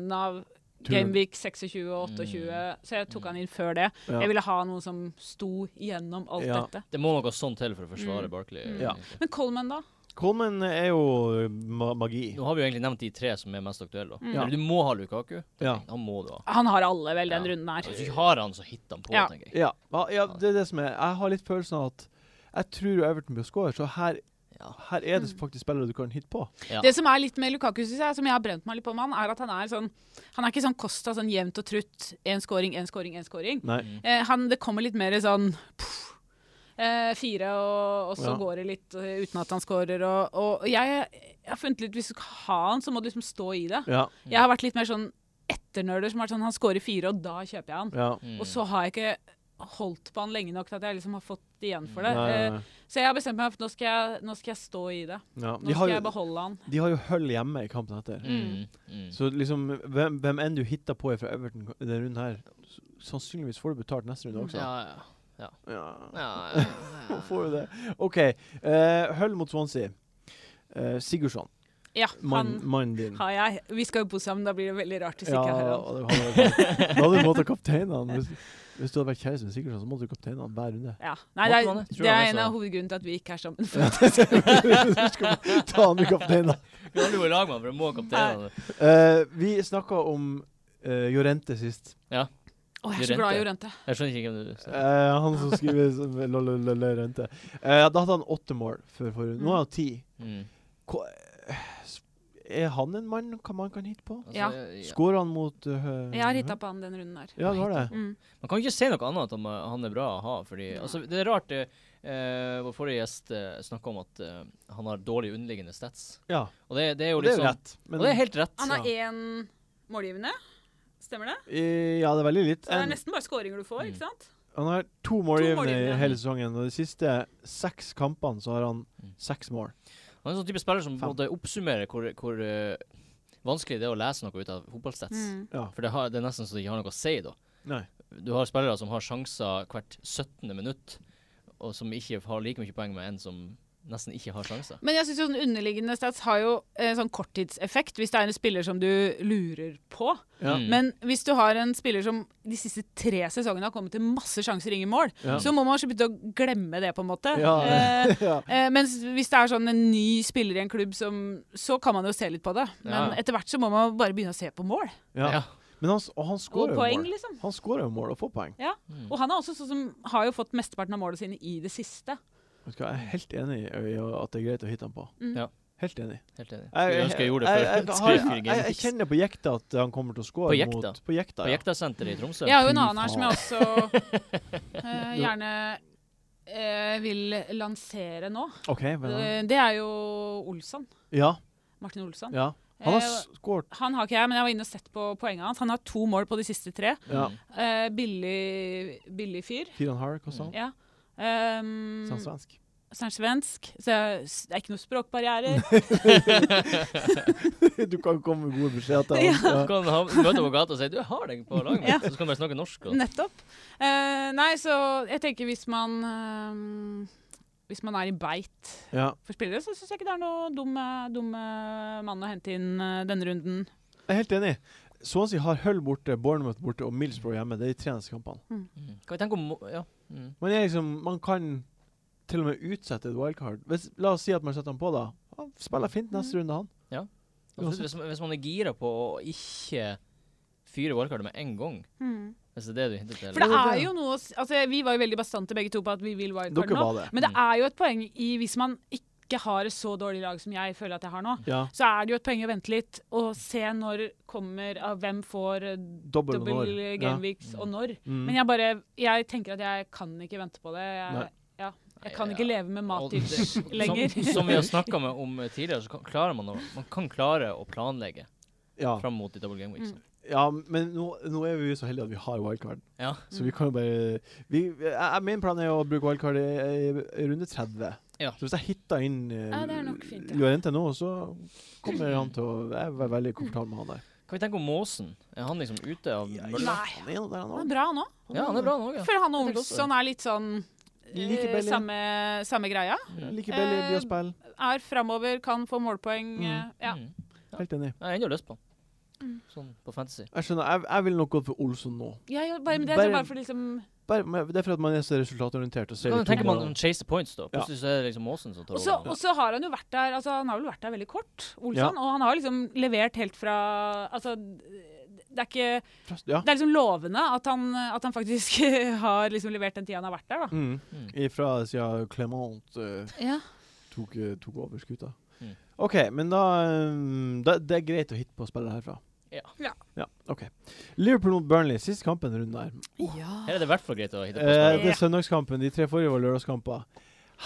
Turen. Gameweek 26 Mm. og 28, så jeg tok han inn før det. Ja. Jeg ville ha noen som sto igjennom alt Ja. dette. Det må noe sånn til for å Mm. forsvare Barkley. Ja. egentlig. Men Coleman, da? Coleman er jo eh, ma magi. Nå har vi jo egentlig nevnt de tre som er mest aktuelle. da. Mm. Ja. Men Du må ha Lukaku. Ja. Han må du ha. Han har alle, vel, den Ja. runden her. Hvis du ikke har han, så hit han på, Ja. tenker jeg. Ja, ja, ja, det er det som er. Jeg har litt følelsen av at jeg tror Everton blir score, så her, Ja. her er Mm. det faktisk spillere du kan hitte på. Ja. Det som er litt med Lukaku, synes jeg, som jeg har brent meg litt på med han, er at han er sånn Han er ikke sånn Costa, sånn jevnt og trutt. Én scoring, én scoring, én scoring. Nei. Eh, han, det kommer litt mer sånn pff, eh, fire, og, og så Ja. går det litt eh, uten at han scorer. Og, og jeg, jeg har funnet litt Hvis du skal ha han, så må du liksom stå i det. Ja, Jeg har vært litt mer sånn etternøler som har vært sånn Han scorer fire, og da kjøper jeg han. ja. Mm. Og så har jeg ikke holdt på han lenge nok til at jeg liksom har fått igjen for det. Mm. Nei, nei, nei. Eh, Så jeg har bestemt meg for at nå skal jeg, nå skal jeg stå i det. Ja. Nå De, har skal jeg jo, beholde han. de har jo høll hjemme i kampen etter. Mm. Mm. Så liksom, hvem, hvem enn du hitter på fra Everton i denne runden her, s- sannsynligvis får du betalt neste runde også. Ja, ja. Ja. ja, ja. Får du det. OK. eh, høll mot Swansea. Eh, Sigurdsson, Ja, han mannen mannen din. har jeg. Vi skal jo bo sammen, da blir det veldig rart hvis Ja, ikke jeg har han. og det hadde- da hadde du måttet kapteine han. Hvis, hvis du hadde vært kjæreste med Sigurdsson, så måtte du kapteine han hver runde. Ja. Nei, det Måtte er, man det? Tror det han er er en så- av hovedgrunnene til at vi ikke er sammen. Du skal ta han med kapteinen. Vi har jo i lag med han, for det må kapteinen. Eh, vi snakka om eh, Jorente sist. Å, jeg er så glad i Jorente. Jeg skjønner ikke hvem du Eh, ser. han som skriver som lolololorente. Eh, da hadde han åtte mål før forrige. Nå har han ti. Mm. Hva- Er han en mann kan man kan hitte på? Altså, Ja. ja. Skårer han mot eh, Jeg har hitta på han den runden her. Ja, du har det? Mm. Man kan ikke si noe annet at han, han er bra å ha. Fordi, altså, det er rart eh, eh, Vår forrige gjest eh, snakka om at eh, han har dårlig underliggende stats. Ja. Og det, det er jo Og det er litt jo sånn rett. Og det er Men helt rett. Han har én målgivende. Stemmer det? eh, ja, det er veldig litt. Så det er En, nesten bare skåringer du får, Mm. ikke sant? han har to målgivende i målgivende. hele sesongen, og de siste seks kampene så har han Mm. seks mål. Han er en sånn type spiller som på en Faen. måte oppsummerer hvor, hvor eh, vanskelig det er å lese noe ut av fotballstats. Mm. Ja. For det, har, det er nesten så det ikke har noe å si, da. Nei. Du har spillere som har sjanser hvert 17. minutt, og som ikke har like mye poeng med en som nesten ikke har sjanser. Men jeg synes jo sånn underliggende stats har jo eh, sånn korttidseffekt hvis det er en spiller som du lurer på. Ja. Mm. Men hvis du har en spiller som de siste tre sesongene har kommet til masse sjanser, ingen mål, Ja. så må man også begynne å glemme det, på en måte. Ja. Eh, ja. eh, mens hvis det er sånn en ny spiller i en klubb, som, så kan man jo se litt på det. Men Ja. etter hvert så må man bare begynne å se på mål. ja. Ja. Men han, s- og han Og skårer jo poeng, mål. liksom. Han skårer jo mål og får poeng. Ja. Og han er også sånn som har jo fått mesteparten av målene sine i det siste. Vet du hva, Jeg er helt enig i i at det er greit å hitte han på. Mm. Ja. Helt enig. Helt enig. Jeg, Skulle ønske jeg gjorde jeg- det jeg- før. har- Skulle jeg, fyre jeg, jeg Gamepics. kjenner på jekta at han kommer til å score På jekta? mot På jekta, På ja. Jekta-senteret i Tromsø. Jeg har jo en Fy annen her som jeg også eh, gjerne eh, vil lansere nå. OK. Men, han- Eh, Det er jo Olsson. ja, Martin Olsson. ja. Han har Eh, skåret han har ikke jeg, men jeg var inne og sett på poengene hans. Han har to mål på de siste tre. ja, Mm. Eh, billig, billig fyr. fire og en halv, kosta han? Ja. Um, Så Sånn han er svensk. så er han svensk. Så jeg- s- det er ikke noen språkbarrierer. du kan komme med gode beskjeder til Ja. han. Du kan ha, møte ham på gata og si 'du jeg har deg på laget', Ja. mitt», så kan du bare snakke norsk. Og. Nettopp. Eh, nei, så jeg tenker hvis man ehm, Hvis man er i beit Ja. Ja. for spillere, så syns jeg ikke det er noe dum, eh, dum eh, mann å hente inn eh, denne runden. Jeg er helt enig. Swansea har Hull borte, Bournemouth borte og Millsbrough hjemme. Det er de tre neste kampene. Mm. Kan vi tenke om må- Ja. Mm. Man, er liksom, man kan til og med utsette et wildcard. Hvis, la oss si at man setter han på, da. Han Mm. spiller fint neste runde, han. Altså, hvis, hvis man er gira på å ikke fyre wildcardet med en gang. Hvis det er det du hinter til. For det Jo, er det- jo noe å s- altså, Vi var jo veldig bastante begge to på at vi vil wildcard Dere nå. var Mm. det. Men det er jo et poeng i hvis man ikke har et så dårlig lag som jeg føler at jeg har nå. Ja. Så er det jo et poeng å vente litt og se når kommer av hvem får eh, Dobbel double når. Ja. game weeks og når. Mm. Men jeg bare Jeg tenker at jeg kan ikke vente på det. Jeg, Nei. ja, Nei, jeg kan ikke leve med Og det- mattips som- lenger. Som vi har snakka om eh, tidligere, så kan, klarer man, å, man kan klare å planlegge Ja. fram mot de double game Mm. weeks. ja, men nå, nå er vi jo så heldige at vi har wildcard. Ja. Så vi kan jo bare vi, jeg, jeg- Min plan er å bruke wildcard i, i, i runde 30. Ja. Så hvis jeg hitter inn eh, Ja, det er nok fint, ja. Llorente nå, så kommer han til å Jeg er veldig komfortabel med han der. Kan vi tenke om Måsen? Er han liksom ute av mølla? Nei. Han er jo der, han Han er også. bra nå. Ja, han er bra nå, ja. Jeg føler han og Jeg tenker også det. Olsson er litt sånn Like eh, belly. samme, samme greia. Like billig, eh, blir å spille. Er framover, kan få målpoeng. Mm. eh, Ja. Mm. Mm. Ja. Helt enig. Jeg har ennå lyst på han. Sånn på fantasy. Jeg skjønner, jeg, jeg ville nok gått for Olsson nå. Jeg, bare, men det Bare- er bare for liksom Bare, men det er for at man er så resultatorientert. Og ser Kan de du to tenke man ballene. chase the points, da? Ja. Plutselig så er det liksom Måsen som tar Og så over. og så har han jo vært der altså Han har vel vært der veldig kort, Ja. Olsson. Og han har liksom levert helt fra Altså, det er ikke Frost- Ja. Det er liksom lovende at han, at han faktisk har liksom levert den tida han har vært der, da. Mm. Mm. Ifra siden Clement eh, Ja. tok, eh, tok over skuta. Mm. OK, men da, um, da Det er greit å hitte på spillet herfra. Ja. Ja. ja. OK. Liverpool mot Burnley, siste kampen i runden der. Her er det i hvert fall greit å hitte på Eh, spillere. det er søndagskampen. De tre forrige var lørdagskamper.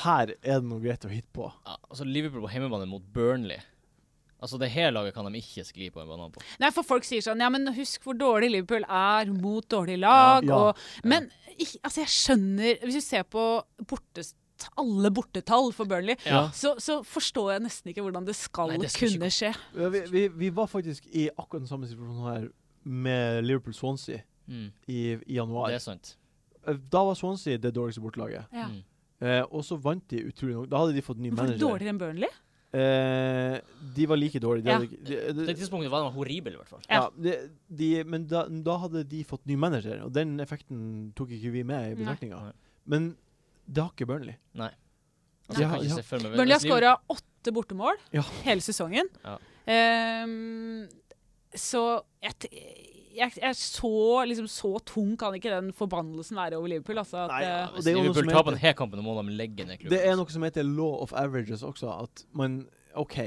Her er det noe greit å hitte på. Ja, altså Liverpool på hjemmebane mot Burnley. Altså Det her laget kan de ikke skli på en banan på. Nei, for folk sier sånn Ja, men husk hvor dårlig Liverpool er mot dårlige lag. Ja. Og, men ikk- altså, jeg skjønner Hvis du ser på bortes, alle bortetall for Burnley, Ja. så, så forstår jeg nesten ikke hvordan det skal, Nei, det skal ikke kunne skje. Eh, Vi, vi, vi var faktisk i akkurat den samme situasjonen her med Liverpool Swansea Mm. i, i januar. Det er sant. Eh, Da var Swansea det dårligste bortelaget. Ja. Mm. Eh, og så vant de utrolig nok. Da hadde de fått ny Hvorfor manager. dårligere enn Burnley? Eh, de var like dårlige. De Ja. hadde ikke- de- På de- det tidspunktet var de horrible, i hvert fall. Ja, de, de, men da, da hadde de fått ny manager, og den effekten tok ikke vi med i Nei. betraktninga. Nei. Men det har ikke Burnley. Altså, jeg Ja, kan ikke ja. se for meg Burnley har Hvis Liverpool- skåra åtte bortemål Ja. hele sesongen. Ja. Ehm, så jeg, t- jeg, jeg så liksom Så tung kan ikke den forbannelsen være over Liverpool. Altså, at, Nei, ja. eh, Hvis Det er jo noe som Liverpool taper heter- denne kampen, da må de legge ned klubben. Det er noe som heter law of averages også, at man OK,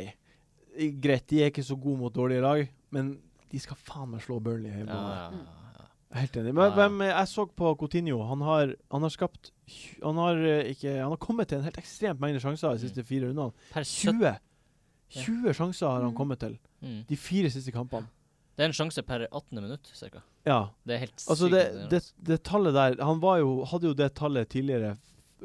i- greit, de er ikke så gode mot dårlige lag, men de skal faen meg slå Burnley hjemme. ja, ja, ja. Jeg er Helt enig. Men Ja, ja. hvem, eh, jeg så på Coutinho. Han har, han har skapt tj- han har, eh, ikke, han har kommet til en helt ekstremt mengde sjanser de siste fire rundene. Per 17 20! 20 sjanser har han Mm. kommet til mm. de fire siste kampene. Det er en sjanse per 18. minutt, cirka. Ja. Det er helt Altså sykt. det, imponerende. det, det tallet der Han var jo, hadde jo det tallet tidligere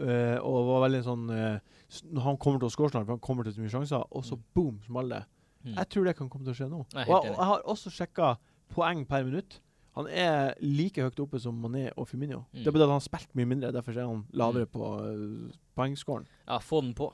eh, og var veldig sånn eh, s- Han kommer til å score snart, for han kommer til så mye sjanser, og så Mm. boom, smaller det. Mm. Jeg tror det kan komme til å skje nå. Jeg er og helt jeg, enig. jeg har også sjekka poeng per minutt. Han er like høyt oppe som Mané og Firmino. Mm. Det er bare at han har spilt mye mindre, derfor er han lavere på eh, poengscoren. Ja, få den på.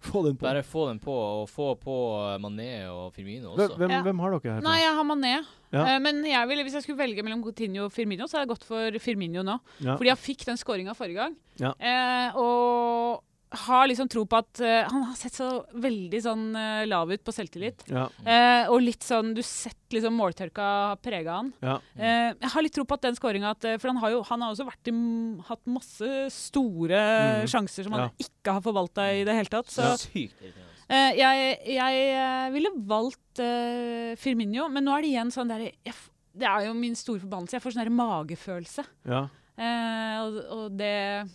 Få den på. Bare få den på, og få på eh, Mané og Firmino Hvem, også. hvem, Ja. hvem har dere her? Nei, jeg har Mané. Ja. Eh, Men jeg ville, hvis jeg skulle velge mellom Coutinho og Firmino, så hadde jeg gått for Firmino nå. Ja. Fordi han fikk den skåringa forrige gang. Ja. Eh, og har liksom tro på at eh, Han har sett så veldig sånn eh, lav ut på selvtillit. Ja. Eh, og litt sånn Du sett liksom måltørka har prega han. Ja. Eh, jeg har litt tro på at den skåringa For han har jo han har også vært i, m- hatt masse store Mm. sjanser som han Ja. ikke har forvalta i det hele tatt. Så Ja. Sykt irriterende. eh, jeg, jeg eh, ville valgt eh, Firmino, men nå er det igjen sånn der jeg, f- Det er jo min store forbannelse. Jeg får sånn der magefølelse. Ja. Eh, og og det,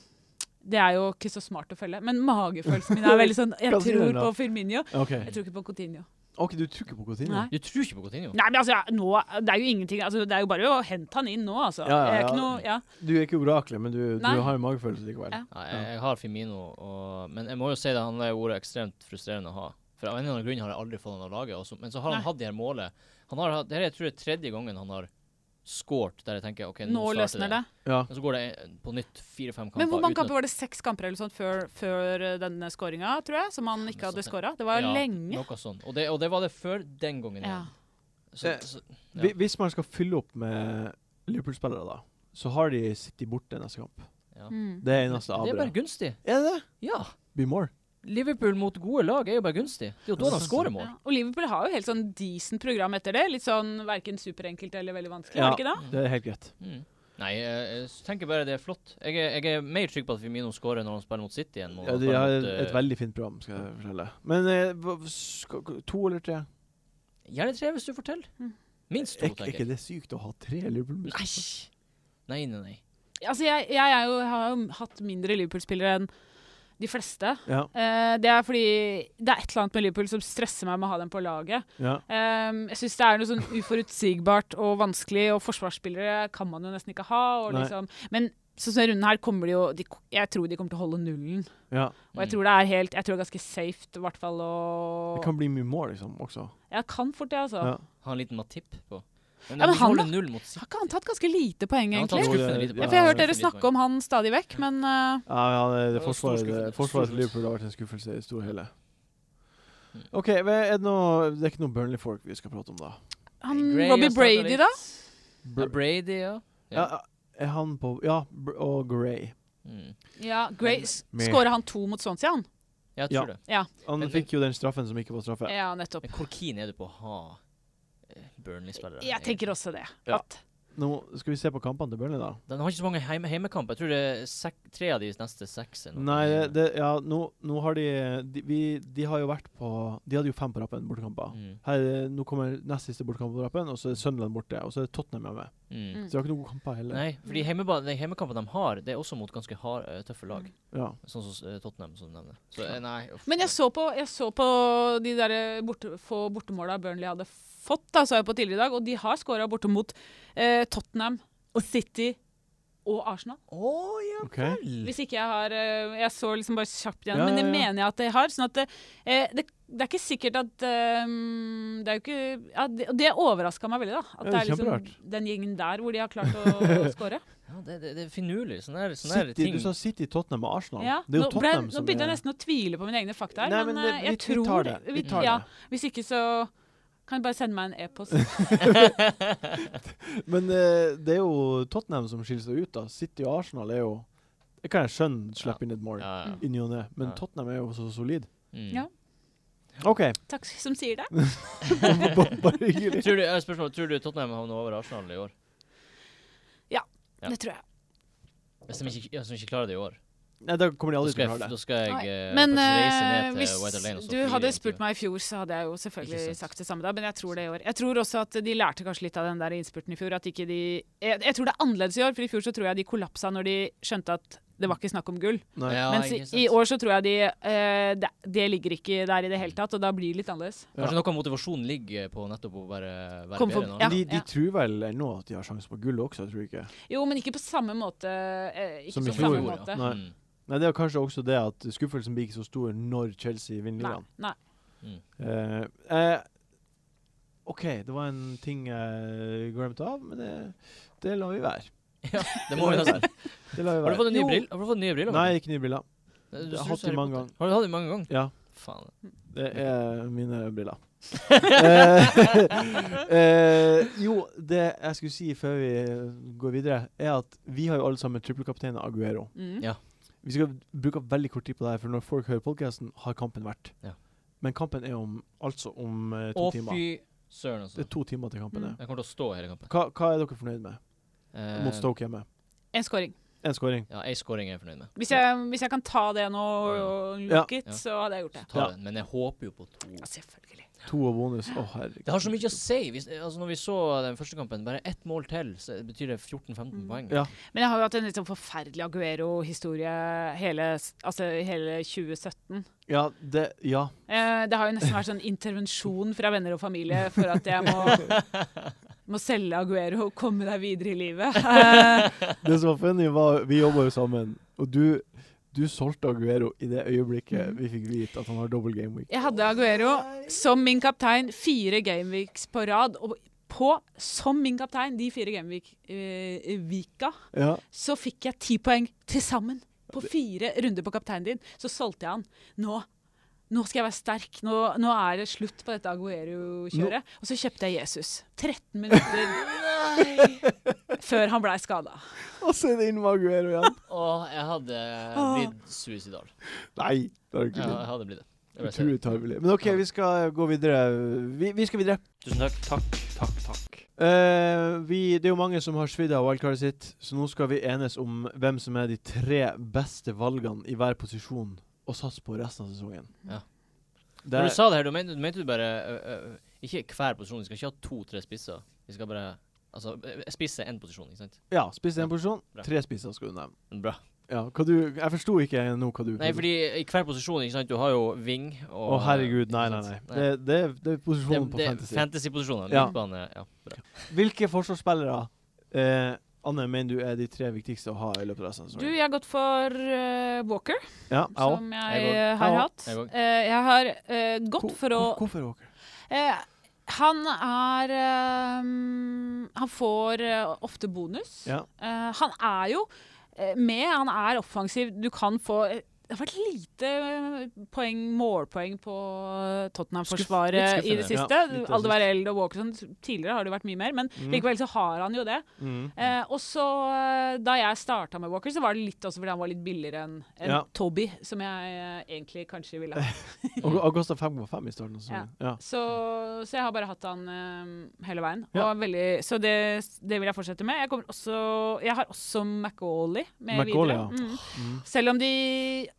det er jo ikke så smart å følge. Men magefølelsen min er veldig sånn Jeg Hva sier tror den da? på Firmino. OK. Jeg tror ikke på Coutinho. OK, du tror ikke på Coutinho? Nei. Du tror ikke på Coutinho? Nei, men altså, jeg- nå, det er jo ingenting altså, Det er jo bare å hente han inn nå, altså. Ja, ja, Jeg er ikke ja. noe, ja. Du er ikke oraklet, men du, du Nei. har en magefølelse likevel. Ja. Nei, jeg, jeg har Firmino, og, men jeg må jo si det, han har jo vært ekstremt frustrerende å ha. For av en eller annen grunn har jeg aldri fått han av laget. Også. Men så har han Nei. hatt de her målet. Han har, hatt- det her er, jeg tror jeg, tredje gangen han har scoret der jeg tenker OK, nå, Nå starter løsner det. Ja. Og så går det en- på nytt fire-fem kamper. Men hvor mange uten at- kamper var det? Seks kamper eller sånt før, før eh, denne skåringa, tror jeg? Som han ikke hadde skåra? Det var Ja, lenge. Noe sånt. Og det, og det var det før den gangen Ja. igjen. Så, Eh, så, Ja. Hvi- Hvis man skal fylle opp med Liverpool-spillere, da, så har de City borte neste kamp. ja. Mm. Det er eneste Det er bare aberet. gunstig. Er det det? Ja. Be more. Liverpool mot gode lag er jo bare gunstig. Det er jo da de skårer mål. Ja. Og Liverpool har jo helt sånn decent program etter det. Litt sånn verken superenkelt eller veldig vanskelig, Ja. var det ikke det? Det er helt greit. Mm. Nei, jeg, jeg tenker bare det er flott. Jeg er, jeg er mer trygg på at Firmino skårer når han spiller mot City enn når Ja, han de har spiller et, mot et eh, veldig fint program, skal jeg fortelle. Men eh, hva- sk- to eller tre? Gjerne tre, hvis du får til. Mm. Minst Er ikke to, er tenker ikke jeg. det sykt å ha tre Liverpool-musikere? Nei. Nei, nei, nei. Altså, jeg, jeg er jo, har jo hatt mindre Liverpool-spillere enn de fleste. Ja, Eh, det er fordi det er et eller annet med Liverpool som stresser meg med å ha dem på laget. ja. Ehm, jeg syns det er noe sånn uforutsigbart og vanskelig, og forsvarsspillere kan man jo nesten ikke ha. Og Nei. liksom. Men sånn som denne runden her kommer de jo de, Jeg tror de kommer til å holde nullen. ja. Og jeg Mm. tror det er helt Jeg tror det er ganske safe, i hvert fall å Det kan bli mye mål, liksom, også. Jeg kan fort det, altså. Ja. Ha en liten Matip på. Men, Ja, men de han holder da- null mot City. Har ikke han tatt ganske lite poeng, Ja, han tar egentlig? tatt- skuffende lite Ja, Ja, poeng. for jeg har han hørt dere snakke om han stadig vekk, men eh, Ja, ja, det, det Ja, stor forsvaret, det, forsvaret skuffelse. til Stor skuffelse. Liverpool har vært en skuffelse i det store og hele. Mm. OK, men er det, noe, det er ikke noe Burnley-folk vi skal prate om, da? han Gray Robbie har startet Brady, litt. da? Ja, Brady, ja. ja. Er han på Ja, Br og Gray. Mm. Ja, Gray s- Med- Skårer han to mot Swansea, han? Jeg Ja. tror det. Han Men- fikk jo den straffen som ikke var straffe. Ja, nettopp. Men hvor keen er du på å ha eh, Burnley-spillere? Jeg tenker også det. Ja. At Nå skal vi se på kampene til Burnley, da. Den har ikke så mange heime heimekamper. Jeg tror det er sek tre av de neste seks. eller noe. Nei, det, det, ja, nå, nå har de de, vi, de har jo vært på De hadde jo fem på rappen, bortekamper. Mm. Her, er- nå kommer nest siste bortekamp på rappen, og så er Sunderland borte. Og så er Tottenham hjemme. Mm. Så de har ikke noen gode kamper heller. Nei, fordi Mm. heimeba- de heimekampene de har, det er også mot ganske hard, eh, tøffe lag. Ja. Sånn som eh, Tottenham, som du nevner. Så, eh, nei, uff. Men jeg så på, jeg så på de der eh, borte, få bortemåla Burnley hadde fått, da, sa jeg på tidligere i dag, og de har skåra borte mot eh, Tottenham, City og Arsenal. Å, ja Ok. vel! Hvis ikke jeg har eh, Jeg så liksom bare kjapt igjen, Ja, men det ja, ja. mener jeg at jeg har. Sånn at det, eh, det, det er ikke sikkert at eh, Det er jo ikke ja, Det, og det overraska meg veldig, da. At Ja, det det er er liksom kjemperart. den gjengen der hvor de har klart å, å skåre. Ja, det, det, det er finurlig. Sånne, her- sånne her City, ting. du sa City, Tottenham og Arsenal. Ja. Det er jo nå, ble, Tottenham nå begynte jeg nesten å tvile på mine egne fakta her, Nei, men, men det- eh, vi- jeg tror vi tar det. Vi tar ja, det. Hvis ikke så kan du bare sende meg en e-post. Men eh, det er jo Tottenham som skiller seg ut, da. City og Arsenal er jo Det kan jeg skjønne slipper inn et mål ja, ja. i ny og ne, men Ja. Tottenham er jo så solid. Mm. Ja. OK. Takk som sier det. Bare hyggelig. Tror du, eh, spørsmål, tror du Tottenham havner over Arsenal i år? Ja. Det tror jeg. Hvis de ikke, hvis de ikke klarer det i år, Nei, da kommer de da aldri til skal å jeg, klare det. da skal jeg eh, Men faktisk reise eh, ned til White Lane og hvis så du fly hadde hjem til- spurt meg i fjor, så hadde jeg jo Ikke selvfølgelig sant. sagt det samme da, men jeg tror det i år. Jeg tror også at de lærte kanskje litt av den der innspurten i fjor. At ikke de jeg, jeg tror det er annerledes i år, for i fjor så tror jeg de kollapsa når de skjønte at det var ikke snakk om gull. Nei. Ja, Mens i ikke sant. år så tror jeg de eh, det, det ligger ikke der i det hele tatt, og da blir det litt annerledes. Ja. Kanskje noe av motivasjonen ligger på nettopp å bare være Kom for- bedre enn ja. andre. de de tror vel ennå at de har sjanse på gull også, tror du ikke? Jo, men ikke på samme måte. eh, ikke Som i på fjor, samme ja. måte. Nei. Mm. Nei, det er kanskje også det at skuffelsen blir ikke så stor når Chelsea vinner Nei. ligaen. nei. Mm. Eh, eh, OK, det var en ting jeg glemte av, men det, det lar vi være. Ja, det må vi nesten. Det lar vi Har være. du fått en ny Jo. brill? Har du fått nye briller? Nei, ikke nye briller. Martin? Du jeg har synes hatt de Harry mange Potter. Har du hatt de mange ganger? Ja, Faen. det er mine briller. Eh, eh, jo, det jeg skulle si før vi går videre, er at vi har jo alle sammen trippelkaptein Aguero. Mm. Ja. Vi skal bruke opp veldig kort tid på det her, for når folk hører podkasten, har kampen vært. Ja. Men kampen er om, altså om eh, to Å, timer. fy søren, altså. Det er to timer til kampen. Mm. er. Jeg kommer til å stå hele kampen. Hva, hva er dere fornøyd med Eh, mot Stoke hjemme? En scoring. Én skåring. Ja, én scoring er jeg fornøyd med. Hvis jeg, hvis jeg kan ta det nå og look Ja. it, så hadde jeg gjort Så det. tar Ja. jeg den. Men jeg håper jo på to. Ja, selvfølgelig. To og bonus. Å, herregud. Det har så mye å si. Hvis, altså, når vi så den første kampen, bare ett mål til, så betyr det 14-15 Mm. poeng. Ja. Men jeg har jo hatt en litt sånn forferdelig Aguero-historie hele, s- altså, hele 2017. Ja, det Ja. Eh, det har jo nesten vært sånn intervensjon fra venner og familie for at jeg må, må selge Aguero og komme deg videre i livet. Eh, Det som var funny, var Vi jobba jo sammen, og du du solgte Aguero i det øyeblikket Mm. vi fikk vite at han har double game week. jeg hadde Aguero som min kaptein fire gameweeks på rad. og på, som min kaptein, de fire eh, gameweek-vika, Ja, så fikk jeg ti poeng til sammen. På fire runder på kapteinen din, så solgte jeg han. Nå, nå skal jeg være sterk. Nå, nå er det slutt på dette Aguero-kjøret. Og så kjøpte jeg Jesus. 13 minutter Nei! før han blei skada. Og så er det inn med Aguero igjen. Åh, jeg hadde Ah. blitt suicidal. Nei, det har du ikke Ja, jeg blitt. hadde blitt det. Jeg bare sier det. Utrolig tarvelig. Men OK, vi skal gå videre. Vi, vi skal videre. Tusen takk. Takk, takk, takk. Eh, vi, det er jo mange som har svidd av wildcardet sitt, så nå skal vi enes om hvem som er de tre beste valgene i hver posisjon å satse på resten av sesongen. Ja. Det Når er, du sa det her, du mente, du mente du bare ø, ø, Ikke hver posisjon, vi skal ikke ha to-tre spisser. Vi skal bare Altså, ø, spiss er én posisjon, ikke sant? ja, spiss i én posisjon. Bra. Tre spisser skal du nevne. Men Bra. Ja, hva du, jeg forsto ikke nå hva du Nei, fordi i hver posisjon, ikke sant, du har jo ving Å, og herregud. Nei, nei, nei. Det, det, er- det er posisjonen på det, Fantasy. Fantasy-posisjonen. Ja. Midtbane. Ja, bra. Hvilke forsvarsspillere, eh, Anne, mener du er de tre viktigste å ha i løpet av resten av Du, sesongen? jeg har gått for eh, Walker, Ja, jeg òg. som Jeg jeg går. eh, har Jeg hatt. Jeg går. Eh, jeg har eh, gått Hvor- for å hvor- Hvorfor Walker? eh, Han er eh, Han får eh, ofte bonus. Ja. Eh, han er jo eh, med, han er offensiv. Du kan få eh, det har vært lite eh, poeng, målpoeng på eh, Skuff- litt Tottenham-forsvaret i det skuffende. siste. Ja, litt, jeg Alderweir Eld og Walkerson tidligere har det vært mye mer, men Mm. likevel så har han jo det. Mm. Eh, og så eh, Da jeg starta med Walker, så var det litt også fordi han var litt billigere enn enn Ja. Toby, som jeg eh, egentlig kanskje ville ha. Og Augusta 5,5 i starten av sesongen. Ja. Så, så jeg har bare hatt han eh, hele veien. Ja. Og veldig, så det, det vil jeg fortsette med. Jeg, kommer også, jeg har også McAuley med McAuley, ja. videre. Mm. Mm. Selv om de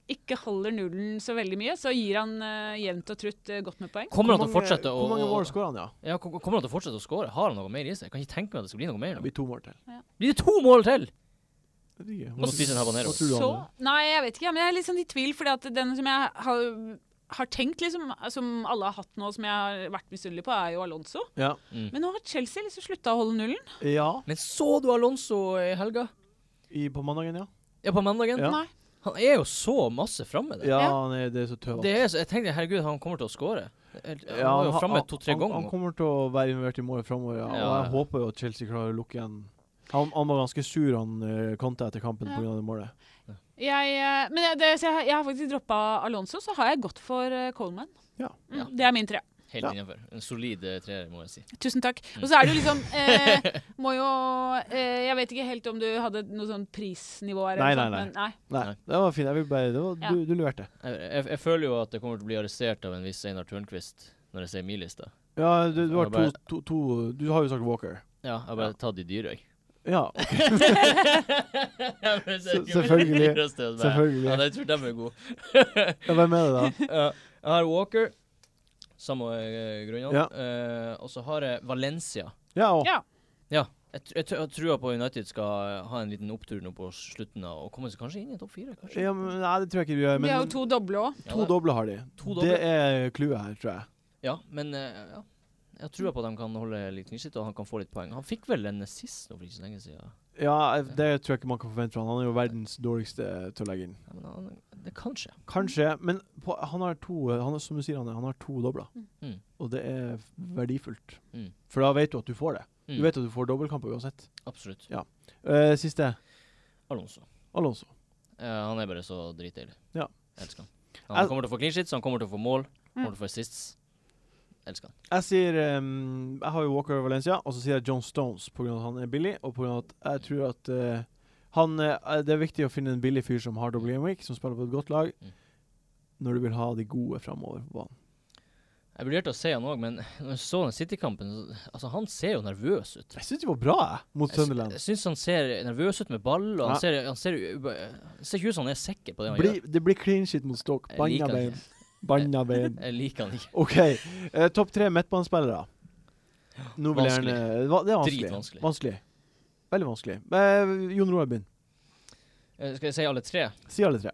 ikke holder nullen så veldig mye, så gir han eh, jevnt og trutt eh, godt med poeng. Kommer han til Hvor å mange- fortsette å Hvor mange å- mål skårer han, ja? Ja, kom- kommer han til å fortsette å score? Har han noe mer i seg? Jeg kan ikke tenke meg at det skal bli noe mer. Det nå. blir to mål til. Blir det to mål til?! Det blir gøy. Må spise en habanero. Hva tror du, Så, Anne? nei, jeg vet ikke, men jeg er litt sånn i tvil, fordi at den som jeg har, har tenkt, liksom, som alle har hatt nå, som jeg har vært misunnelig på, er jo Alonso. Ja. Men nå har Chelsea liksom slutta å holde nullen. ja. Men så du Alonso i helga? I, på mandagen, ja. Ja, på mandagen? Ja. Nei. Han er jo så masse framme der. Ja, Ja. han er, det er så tøv. Det er, så- jeg tenkte herregud, han kommer til å skåre. Han Ja, var jo han- framme han- to-tre han- Han ganger. kommer til å være involvert i målet framover, ja. Ja, Og ja. jeg håper jo at Chelsea klarer å lukke igjen. Han, han var ganske sur, han eh, Conte, etter kampen Ja. pga. det målet. Jeg, eh, men jeg, det, så jeg, har- jeg har faktisk droppa Alonso, så har jeg gått for eh, Coleman. Ja. Mm, Ja. Det er min tre. Helt Ja. innenfor. En solid eh, treer, må jeg si. Tusen takk. Mm. Og så er det jo liksom eh, Må jo eh, Jeg vet ikke helt om du hadde noe sånn prisnivå her. Nei, nei, eller sånt, men nei. Nei, Nei. det var fint. Jeg vil bare, det var, Ja. du, du leverte. Jeg, jeg, jeg føler jo at jeg kommer til å bli arrestert av en viss Einar Tørnquist når jeg ser min liste. Ja, du, du har Jeg bare- to, to, to Du har jo sagt Walker. Ja, jeg har bare tatt de dyre, jeg. Ja. Jeg bare ser- selvfølgelig. Dyreste, og bare, Selvfølgelig. Ja, jeg tror de er gode. ja, Hvem er det, da? Ja, Eh, jeg har Walker, samme eh, grunnene. Ja. Eh, og så har jeg Valencia. Ja, og, Ja. Jeg, tr- jeg, tr- jeg tror på United skal ha en liten opptur nå på slutten av, og komme seg kanskje inn i topp fire. kanskje? ja, men, Nei, det tror jeg ikke du gjør. Vi Eh, Men har jo to doble òg. Ja, to da- doble har de. To doble. Det er clouet her, tror jeg. Ja, men eh, ja. jeg tror på at han kan holde litt knirkete, og han kan få litt poeng. Han fikk vel en assist nå for ikke så lenge siden. Ja, det tror jeg ikke man kan forvente fra han. Han er jo verdens dårligste til å legge inn. Ja, men han, det kan skje. Kanskje, men på, han har to han, har- Som du sier, han, han har to dobler. Mm. Og det er f- verdifullt. Mm. For da vet du at du får det. Mm, Du vet at du får dobbeltkamper uansett. Absolutt. Eh, siste. Alonso. Alonso. Eh, han er bare så dritdeilig. Ja. Jeg Elsker han. Jeg- Han kommer til å få clean shits, han kommer til å få mål, kommer til å få assists. Jeg Elsker han. Jeg sier ehm, Jeg har jo Walker og Valencia, og så sier jeg John Stones pga. at han er billig, og pga. at jeg tror at eh, han eh, Det er viktig å finne en billig fyr som har double game week, som spiller på et godt lag, Mm. når du vil ha de gode framover på banen. Jeg vurderte å si han òg, men når jeg så den City-kampen så- Altså, han ser jo nervøs ut. Jeg syns de var bra, jeg, mot Jeg sy- Sunderland. Jeg syns han ser nervøs ut med ball, og Ja. han ser, han ser, ube- ser ikke ut som han er sikker på det han Bli, gjør. det blir clean shit mot Stoke. Jeg Banna liker han bein. ikke. Banna bein. Jeg liker han ikke. OK. eh, Topp tre midtbanespillere. Nå vil jeg Vanskelig. gjerne va- Det er vanskelig. Dritvanskelig. Vanskelig. Veldig vanskelig. Eh, Jon Roar, begynn. Eh, Skal jeg si alle tre? Si alle tre.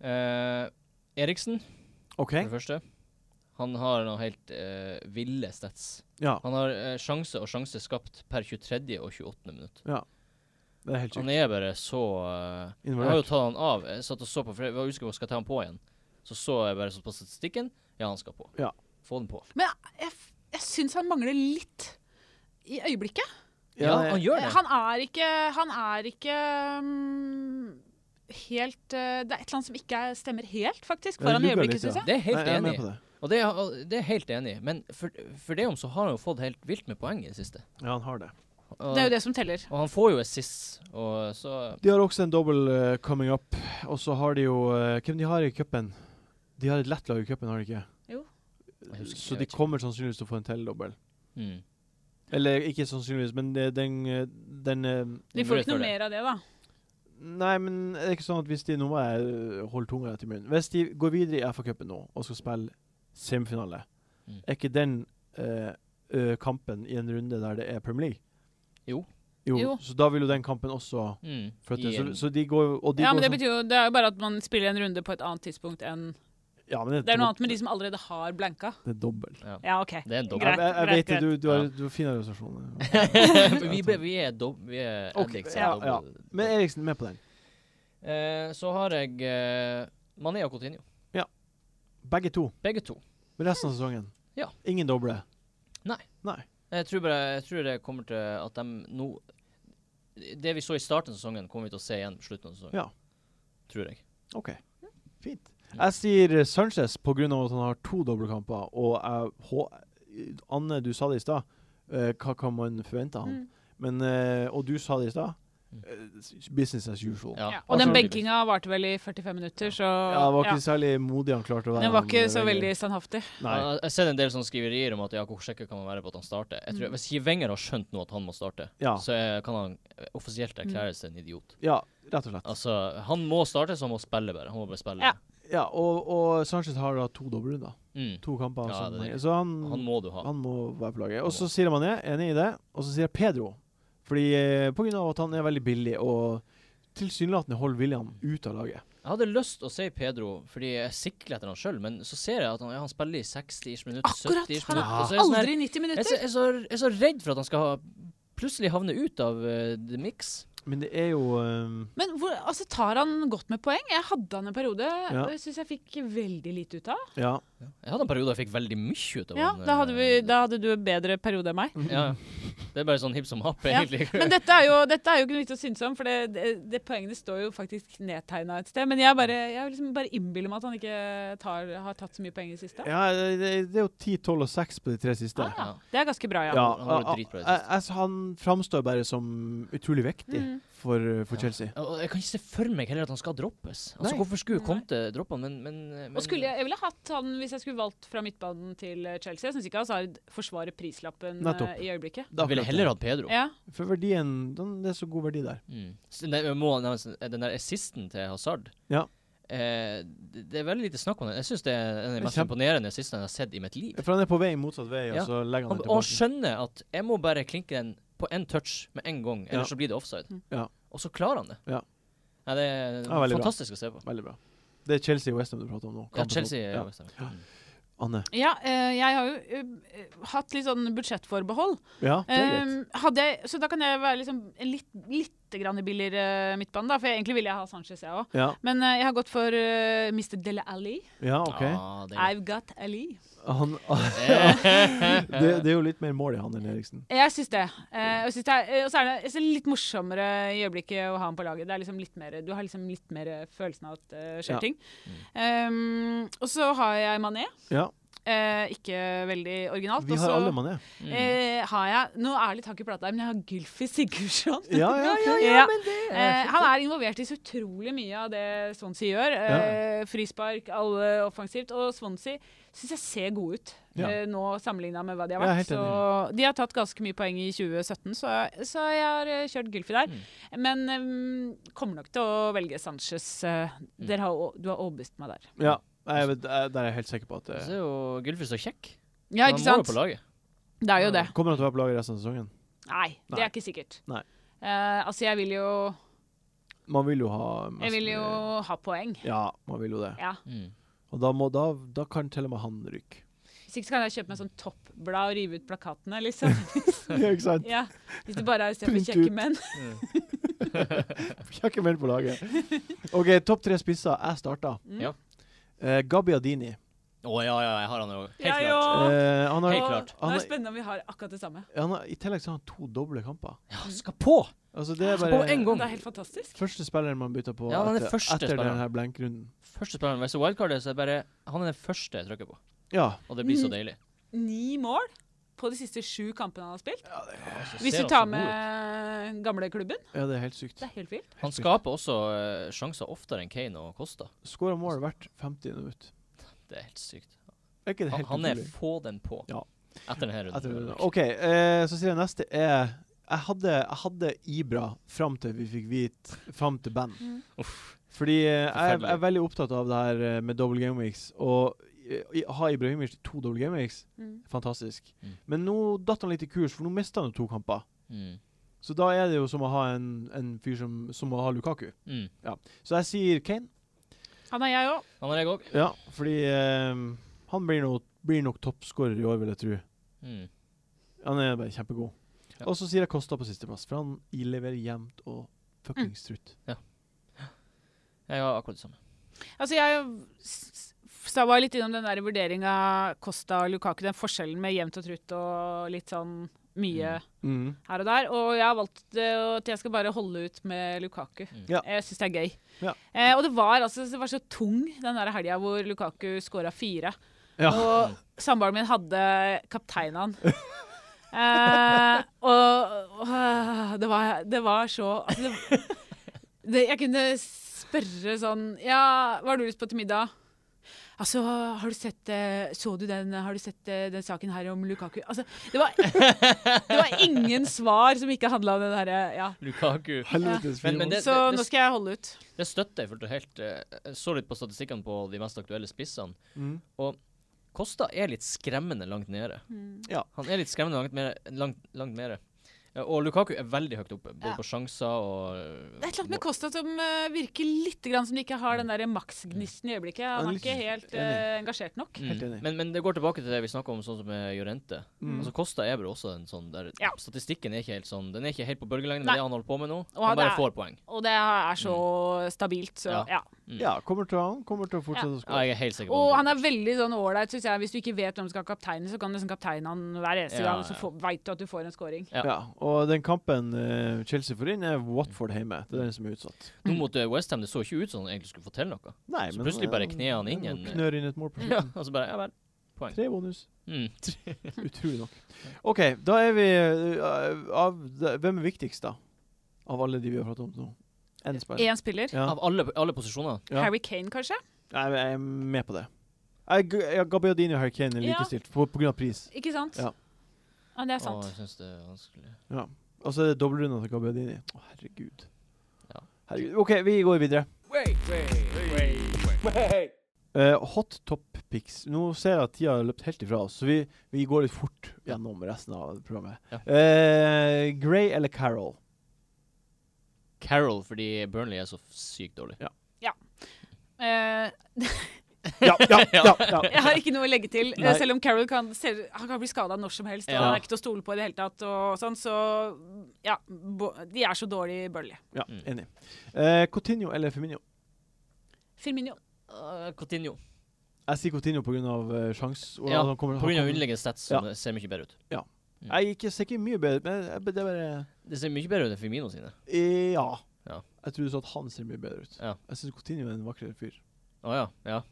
Eh, Eriksen, OK? for det første. Han har noe helt eh, ville stats. Ja. Han har eh, sjanse og sjanse skapt per 23. og 28. minutt. Det er helt Han sjukt. er bare så eh, Jeg har jo Involvert. tatt han av. Jeg satt og så på, for jeg var usikker på skal jeg ta han på igjen. Så så jeg bare så på statistikken. Ja, han skal på. Ja. Få den på. Jeg, f- jeg syns han mangler litt i øyeblikket. Ja, Ja, han jeg- gjør det. Han er ikke, han er ikke mm, helt eh, Det er et eller annet som ikke er- stemmer helt, faktisk, Ja, det foran lugger øyeblikket, litt, ja. syns jeg. Det er jeg helt Nei, jeg er enig med på i. det. Og det er, og det er jeg helt enig i. Men for, for det om så har han jo fått helt vilt med poeng i det siste. Ja, han har det. Og, Det er jo det som teller. og han får jo assist, og så De har også en dobbel eh, coming up. Og så har de jo eh, Hvem de har i cupen? De har et lett lag i cupen, har de ikke? Jo. Jeg husker ikke, Så jeg de vet ikke. kommer sannsynligvis til å få en til dobbel. mm. Eller ikke sannsynligvis, men det- den, eh, den eh, De får Mulighet ikke for noe det. mer av det, da. Nei, men er det ikke sånn at hvis de nå må jeg øh, holde tunga rett i munnen Hvis de går videre i FA-cupen nå og skal spille semifinale, Mm. er ikke den øh, øh, kampen i en runde der det er Premier League? Jo. jo. Jo. Så da vil jo den kampen også Mm. flyttes. I en- Så, så de går og de ja, går men det sånn- betyr jo Det er jo bare at man spiller en runde på et annet tidspunkt enn ja, men Det er noe annet med de som allerede har blanka. Det er dobbel. Ja, OK. Det er en Jeg, dobbel. Greit, jeg, jeg vet greit, det, du, du har Ja. du har fin organisasjon. vi, ble- vi er dob... Vi er Ok, Alex er ja, ja. dobbel. Men Eriksen er med på den. Eh, så har jeg eh, Mané og Coutinho. Begge to. Begge to. Resten av sesongen. Ja. Ingen doble. Jeg tror, bare, jeg tror det kommer til at de nå Det vi så i starten av sesongen, kommer vi til å se igjen på slutten av sesongen. Ja. Tror jeg. OK. Fint. Mm. Jeg sier Sanchez pga. at han har to dobbeltkamper, og jeg hå- Anne, du sa det i stad. eh, hva kan man forvente av han? Mm. Men, eh, og du sa det i stad. Mm. eh, s- business as usual. Ja. Ja. Og den Altså- benkinga varte vel i 45 minutter, så Ja, det var ja. ikke særlig modig han klarte å være. Den var han, ikke eh, så Wenger. veldig standhaftig. Nei. Jeg- Jeg har sett en del sånne skriverier om at ja, hvor sikker kan man være på at han starter. Jeg tror, Mm. Hvis Wenger har skjønt nå at han må starte, Ja, så eh, kan han eh, offisielt Mm. erklæres en idiot. ja, rett og slett. Altså, han må starte, så han må spille bare. Han må bare spille. Ja. Ja, og, og Sanchez har da to dobbeltrunder. Mm. To kamper. Ja, som, det er så han, Han må du ha. han må være på laget. Han Og så sier man det, enig i det. Og så sier jeg Pedro. Fordi eh, på grunn av at han er veldig billig, og tilsynelatende holder William ute av laget. Jeg hadde lyst til å si Pedro, fordi jeg sikler etter han sjøl, men så ser jeg at han, ja, han spiller i 60-ish minutt, Akkurat! 70-ish Han minutt. Ja. og så er er jeg sånn her- aldri 90 Jeg er, så, minutter. jeg, er så, jeg er så redd for at han skal ha, plutselig havne ut av eh, the mix. Men det er jo eh, Men hvor, altså, tar han godt med poeng? Jeg hadde han en periode, Ja. og jeg syns jeg fikk veldig lite ut av. Ja. Jeg hadde en periode jeg fikk veldig mye ut av Ja, han. da hadde, eh, vi, da hadde du en bedre periode enn meg. Ja, det er bare sånn hipp som happ, Ja, egentlig. Men dette er jo, dette er jo ikke noe vits å synes om, for det, det, det poengene står jo faktisk nedtegna et sted. Men jeg bare, jeg liksom bare innbiller meg at han ikke tar, har tatt så mye poeng i det siste. ja det, det er jo 10, 12 og 6 på de tre siste. Ah, ja. Det er ganske bra, ja. Ja, han var a- a- dritbra i det jeg- siste. jeg s- han framstår bare som utrolig viktig Mm. for, for Ja. Chelsea. Og- og Jeg kan ikke se for meg heller at han skal droppes. Altså, Nei. Hvorfor skulle Nei. Conte droppe han? Men, men, eh, men Og skulle jeg, jeg ville hatt han hvis jeg skulle valgt fra midtbanen til eh, Chelsea. Jeg syns ikke Hazard forsvarer prislappen eh, Nettopp. i øyeblikket. Da ville jeg heller hatt Pedro. Ja. For verdien den, Det er så god verdi der. Mm. Så det- jeg må, nevne- den der assisten til Hazard Ja. eh, det det er veldig lite snakk om den. Jeg syns det er en av de mest Kjempe- imponerende assistene jeg har sett i mitt liv. For han er på vei motsatt vei, Ja. og så legger han Han, den og han tilbake. skjønner at jeg må bare klinke den på én touch med en gang, Ja. ellers så blir det offside. Mm. Ja. Og så klarer han det. Ja. Nei, det er Ja, veldig bra. fantastisk å se på. Veldig bra. Det er Chelsea og Westham du prater om nå. Ja, Kampen Chelsea opp. er Ja. jo ja. mm. Anne. ja, eh, jeg har jo eh, hatt litt sånn budsjettforbehold. Ja, det er greit. Eh, hadde jeg, så da kan jeg være liksom en litt, litt grann billigere midtbane, da, for jeg, egentlig ville jeg ha Sanchez, jeg òg. Ja, Men eh, jeg har gått for eh, Mr. Dele Alli. ja OK. Ja, det er- I've got Alli. Han, det, det er jo litt mer mål i han enn Eriksen. Jeg syns det. Eh, og syns det er, eh, og så er det jeg synes det er litt morsommere i øyeblikket å ha han på laget. Det er liksom litt mer, du har liksom litt mer følelsen av at det skjer Ja. Mm. ting. Um, og så har jeg Mané. Ja, Eh, ikke veldig originalt. vi Og har så, alle mané. mm. Eh, har jeg, nå er det litt hakk i plata, her, men jeg har Gylfi Sigurdsson. Ja, ja, ok. Ja. Eh, han er involvert i så utrolig mye av det Swansea gjør. Eh, frispark, alle offensivt. Og Swansea syns jeg ser gode ut Ja. eh, nå sammenligna med hva de har Jeg er helt vært. Så de har tatt ganske mye poeng i 2017, så, så jeg har eh, kjørt Gylfi der. Men eh, kommer nok til å velge Sanchez. Eh, Mm. dere har, å- du har overbevist meg der. Ja, jeg, vet- jeg, der er jeg helt sikker på at eh, Så det er jo Gylfi så kjekk. Ja, ikke Han sant? må jo på laget. Det er jo det. Kommer han til å være på laget resten av sesongen? Nei, det Nei. er ikke sikkert. Nei. Eh, altså, jeg vil jo Man vil jo ha mest Jeg vil jo mulig- ha poeng. Ja, man vil jo det. Ja. Mm. Og da, må, da, da kan til og med han ryke. Hvis ikke så kan jeg kjøpe meg sånn toppblad og rive ut plakatene, liksom. ja, ikke sant? Ja, hvis det bare er istedenfor Print kjekke ut. menn. Vi har ikke meldt på laget. OK, topp tre spisser. Jeg starta. Mm. Ja. Eh, Gabi Adini. Å ja, ja, jeg har han jo. Helt Ja, klart. ja. Eh, han har, Helt klart. Nå er Han det er- spennende om vi har akkurat det samme. han har, I tillegg så har han to doble kamper. Ja, han skal på! Altså det er Så bare på en gang. Det er helt fantastisk. Første spilleren man bytter på Ja, han er etter, første etter spilleren. denne blenkrunden. Første spilleren. Hvis det er wildcardet, så er det bare Han er den første jeg trykker på. Ja. Og det blir så Mm. deilig. Ni mål? på de siste sju kampene han har spilt. Altså, Hvis ser du tar han så god med gamleklubben. Ja, det er helt sykt. Det er helt vilt. ut. Han skaper også eh, sjanser oftere enn Kane og Costa. Skåra mål hvert 50 minutt. Det er helt sykt. Er ikke det Han, helt han er utrolig? få den på Ja. etter denne Jeg tror runden. det. OK, eh, så sier jeg neste er jeg hadde, jeg hadde Ibra fram til vi fikk vite fram til band. Uff. Fordi eh, jeg, jeg Forferdelig. er veldig opptatt av det her eh, med double game weeks. Og eh, i- ha Ibrahimovic til to double game weeks, fantastisk. Mm. Men nå datt han litt i kurs, for nå mista han jo to kamper. Mm. Så da er det jo som å ha en, en fyr som, som å ha Lukaku. Mm. Så jeg sier Kane. Han er jeg òg. Han har jeg òg. Ja, fordi eh, han blir, no, blir nok toppskårer i år, vil jeg tro. Mm. Han er bare kjempegod. Ja. Og så sier jeg Kosta på sisteplass, for han leverer jevnt og fuckings strutt. Jeg har akkurat det samme. Altså, jeg s- s- var litt innom den der vurderinga Costa og Lukaku, den forskjellen med jevnt og trutt og litt sånn mye Mm. her og der. Og jeg har valgt det, og at jeg skal bare holde ut med Lukaku. Mm. Ja. Jeg syns det er gøy. Ja. Eh, og det var, altså, det var så tung den der helga hvor Lukaku skåra fire. Ja. Og samboeren min hadde kapteinen han. eh, og åh, det, var, det var så altså, det, det, Jeg kunne spørre sånn Ja, hva har du lyst på til middag? Altså, har du sett eh, Så du den Har du sett eh, den saken her om Lukaku? Altså, det var, det var ingen svar som ikke handla om det derre ja. Lukaku. Helvetes Men- firehånds. men det- Så nå skal jeg holde ut. Det støtter jeg fullt og helt. Eh, Jeg så litt på statistikkene på de mest aktuelle spissene. Mm. Kosta er litt skremmende langt nede. Ja. Han er litt skremmende langt mer. Langt, langt mere. Eh, Og Lukaku er veldig høyt oppe, både Ja. på sjanser og Det er et eller annet med Costa som eh, virker litt grann som de ikke har den der maksgnisten i øyeblikket. Han Han er er ikke litt helt enig. eh, engasjert nok. Helt enig. mm. Men, men det går tilbake til det vi snakka om, sånn som med Jorente. Mm. Altså Kosta er vel også en sånn der Ja. Statistikken er ikke helt sånn Den er ikke helt på bølgelengde Nei. med det han holder på med nå. Og han han bare er- får poeng. Og det er så stabilt, så Ja. ja. Ja, kommer til, å- han kommer til å fortsette å Ja, skåre. jeg er helt sikker på Og han er veldig sånn ålreit, syns jeg. Hvis du ikke vet hvem som skal kapteine, så kan du liksom kapteine han hver eneste Ja, gang, så ja. får- vet du at du får en scoring. Ja. Ja. Og den kampen eh, Chelsea får inn, er Watford hjemme. Det er den som er utsatt. Nå mot eh, West Ham, det så ikke ut som han egentlig skulle få til noe. Nei, Så plutselig bare kner han inn Ja, igjen. Knør inn et mål på Ja, slutten. altså bare, ja vel. Poeng. Tre bonus. Mm. Utrolig nok. OK, da er vi eh, av, da- Hvem er viktigst, da? Av alle de vi har pratet om nå? Én spiller. Én spiller. Ja. Av alle, alle posisjoner. Ja. Harry Kane, kanskje? Nei, men jeg er med på det. Jeg, jeg, Gabbiadini og Harry Kane er Ja. likestilt på, på grunn av pris. Ikke sant? Ja. Ja, det er Å, sant. jeg syns det er vanskelig. Ja. Og så er det dobbeltrunda til Gabbiadini. Å, herregud. Ja. herregud. OK, vi går videre. Eh, hot top picks. Nå ser jeg at tida har løpt helt ifra oss, så vi, vi går litt fort gjennom resten av programmet. Ja. Eh, Gray eller Carol? Carol, fordi Burnley er så f- sykt dårlig. Eh, Ja, ja, ja. ja. jeg har ikke noe å legge til. eh, Nei. Selv om Carroll kan, ser, han kan bli skada når som helst, og Ja. han er ikke til å stole på i det hele tatt, og sånn, så ja. Bo, de er så dårlige i Burnley. ja Mm. enig. Eh, Coutinho eller Firmino? Firmino. Uh, Coutinho. Jeg sier Coutinho pga. Uh, sjanse. Ja, På grunn av underliggende stats som Ja. det ser mye bedre ut. Jeg ikke, ser ikke mye bedre men jeg, det er bare Det ser mye bedre ut enn Firmino sine. eh, ja. Ja. Jeg tror du sa at han ser mye bedre ut. Ja. Jeg syns Coutinho er en vakrere fyr. Å ja. Ja.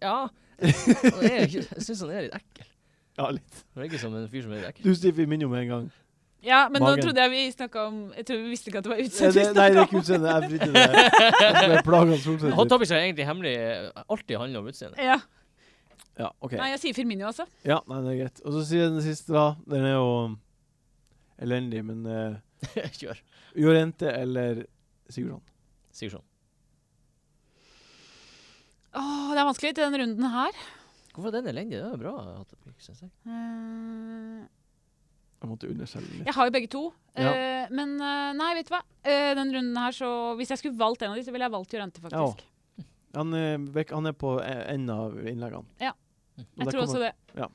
ja. Han er ikke- Jeg syns han er litt ekkel. Ja, litt. Han virker som en fyr som er litt ekkel. Du sier Firmino med en gang. Ja, men Magen. nå trodde jeg vi snakka om Jeg trodde vi visste ikke at det var Eh, utsatt. det, nei, det er ikke utseendet. Jeg bryter det. Jeg skal bare plage han solsett Hot litt. topics er egentlig hemmelig. eh, Alltid handler om utseende. Ja. Ja, OK. Nei, jeg sier Firmino, altså. Ja, nei, det er greit. Og så sier jeg den siste, da. Den er jo elendig, men uh, Kjør. Jorente eller Sigurdsson? Sigurdsson. Åh, det er vanskelig til denne runden her. Hvorfor er den elendig? Det er jo bra. Hot topic, synes jeg. Eh, Jeg måtte underselge litt. Jeg har jo begge to. Ja. eh, men eh, nei, vet du hva. Uh, den runden her, så Hvis jeg skulle valgt en av de, så ville jeg valgt Jorente, faktisk. Han, eh, vek- han er på eh, enden av innleggene. Ja. Og der jeg tror kommer- også det.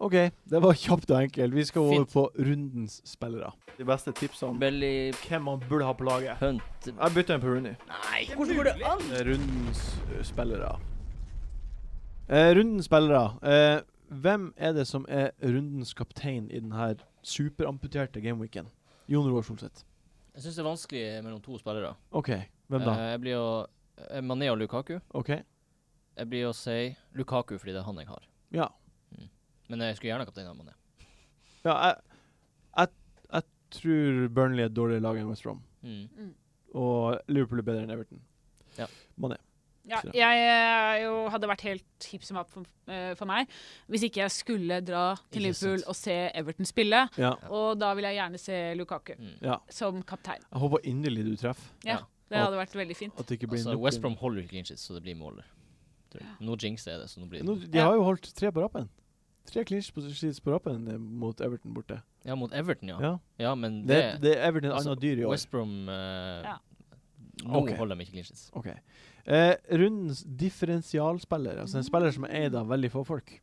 OK, det var kjapt og enkelt. Vi skal over Fint. på rundens spillere. De beste tipsene Belly hvem man burde ha på laget. Hunt. Jeg bytter en på Rooney. Nei, hvordan går det an? Rundens eh, spillere. Eh, rundens spillere. Eh, hvem er det som er rundens kaptein i denne superamputerte gameweeken? Jon Roar Solseth. Jeg syns det er vanskelig mellom to spillere. OK, hvem da? Eh, Jeg blir å eh, Mané og Lukaku. OK? Jeg blir å si Lukaku fordi det er han jeg har. Mm. Ja. Men jeg skulle gjerne ha kapteinen Mané. Ja, jeg, jeg, jeg tror Burnley er et dårligere lag enn West Brom. Mm. Og Liverpool er bedre enn Everton. Ja. Mané. Ja, Så- jeg eh, jo hadde vært helt hipp som happ for, eh, for meg hvis ikke jeg skulle dra til Ikke sant. Liverpool og se Everton spille. Ja. Og da vil jeg gjerne se Lukaku Mm. ja. som kaptein. Jeg håper inderlig du treffer. Ja, Ja. Det hadde vært veldig fint. At det ikke blir Altså, nok West en- Brom holder jo ikke clean shit, så det blir måler. Tror jeg. Nå jinx er det, så nå blir Nå, det de Ja. har jo holdt tre på rappen. Tre clinch på sheets på rappen eh, mot Everton borte. Ja, mot Everton, ja. Ja. Ja, men Det, det, det er Everton et altså, annet dyr i år. West Brom eh, Ja. Nå Ok. holder de ikke clean shits. Ok. Eh, rundens differensialspiller, altså en spiller som er eid av veldig få folk.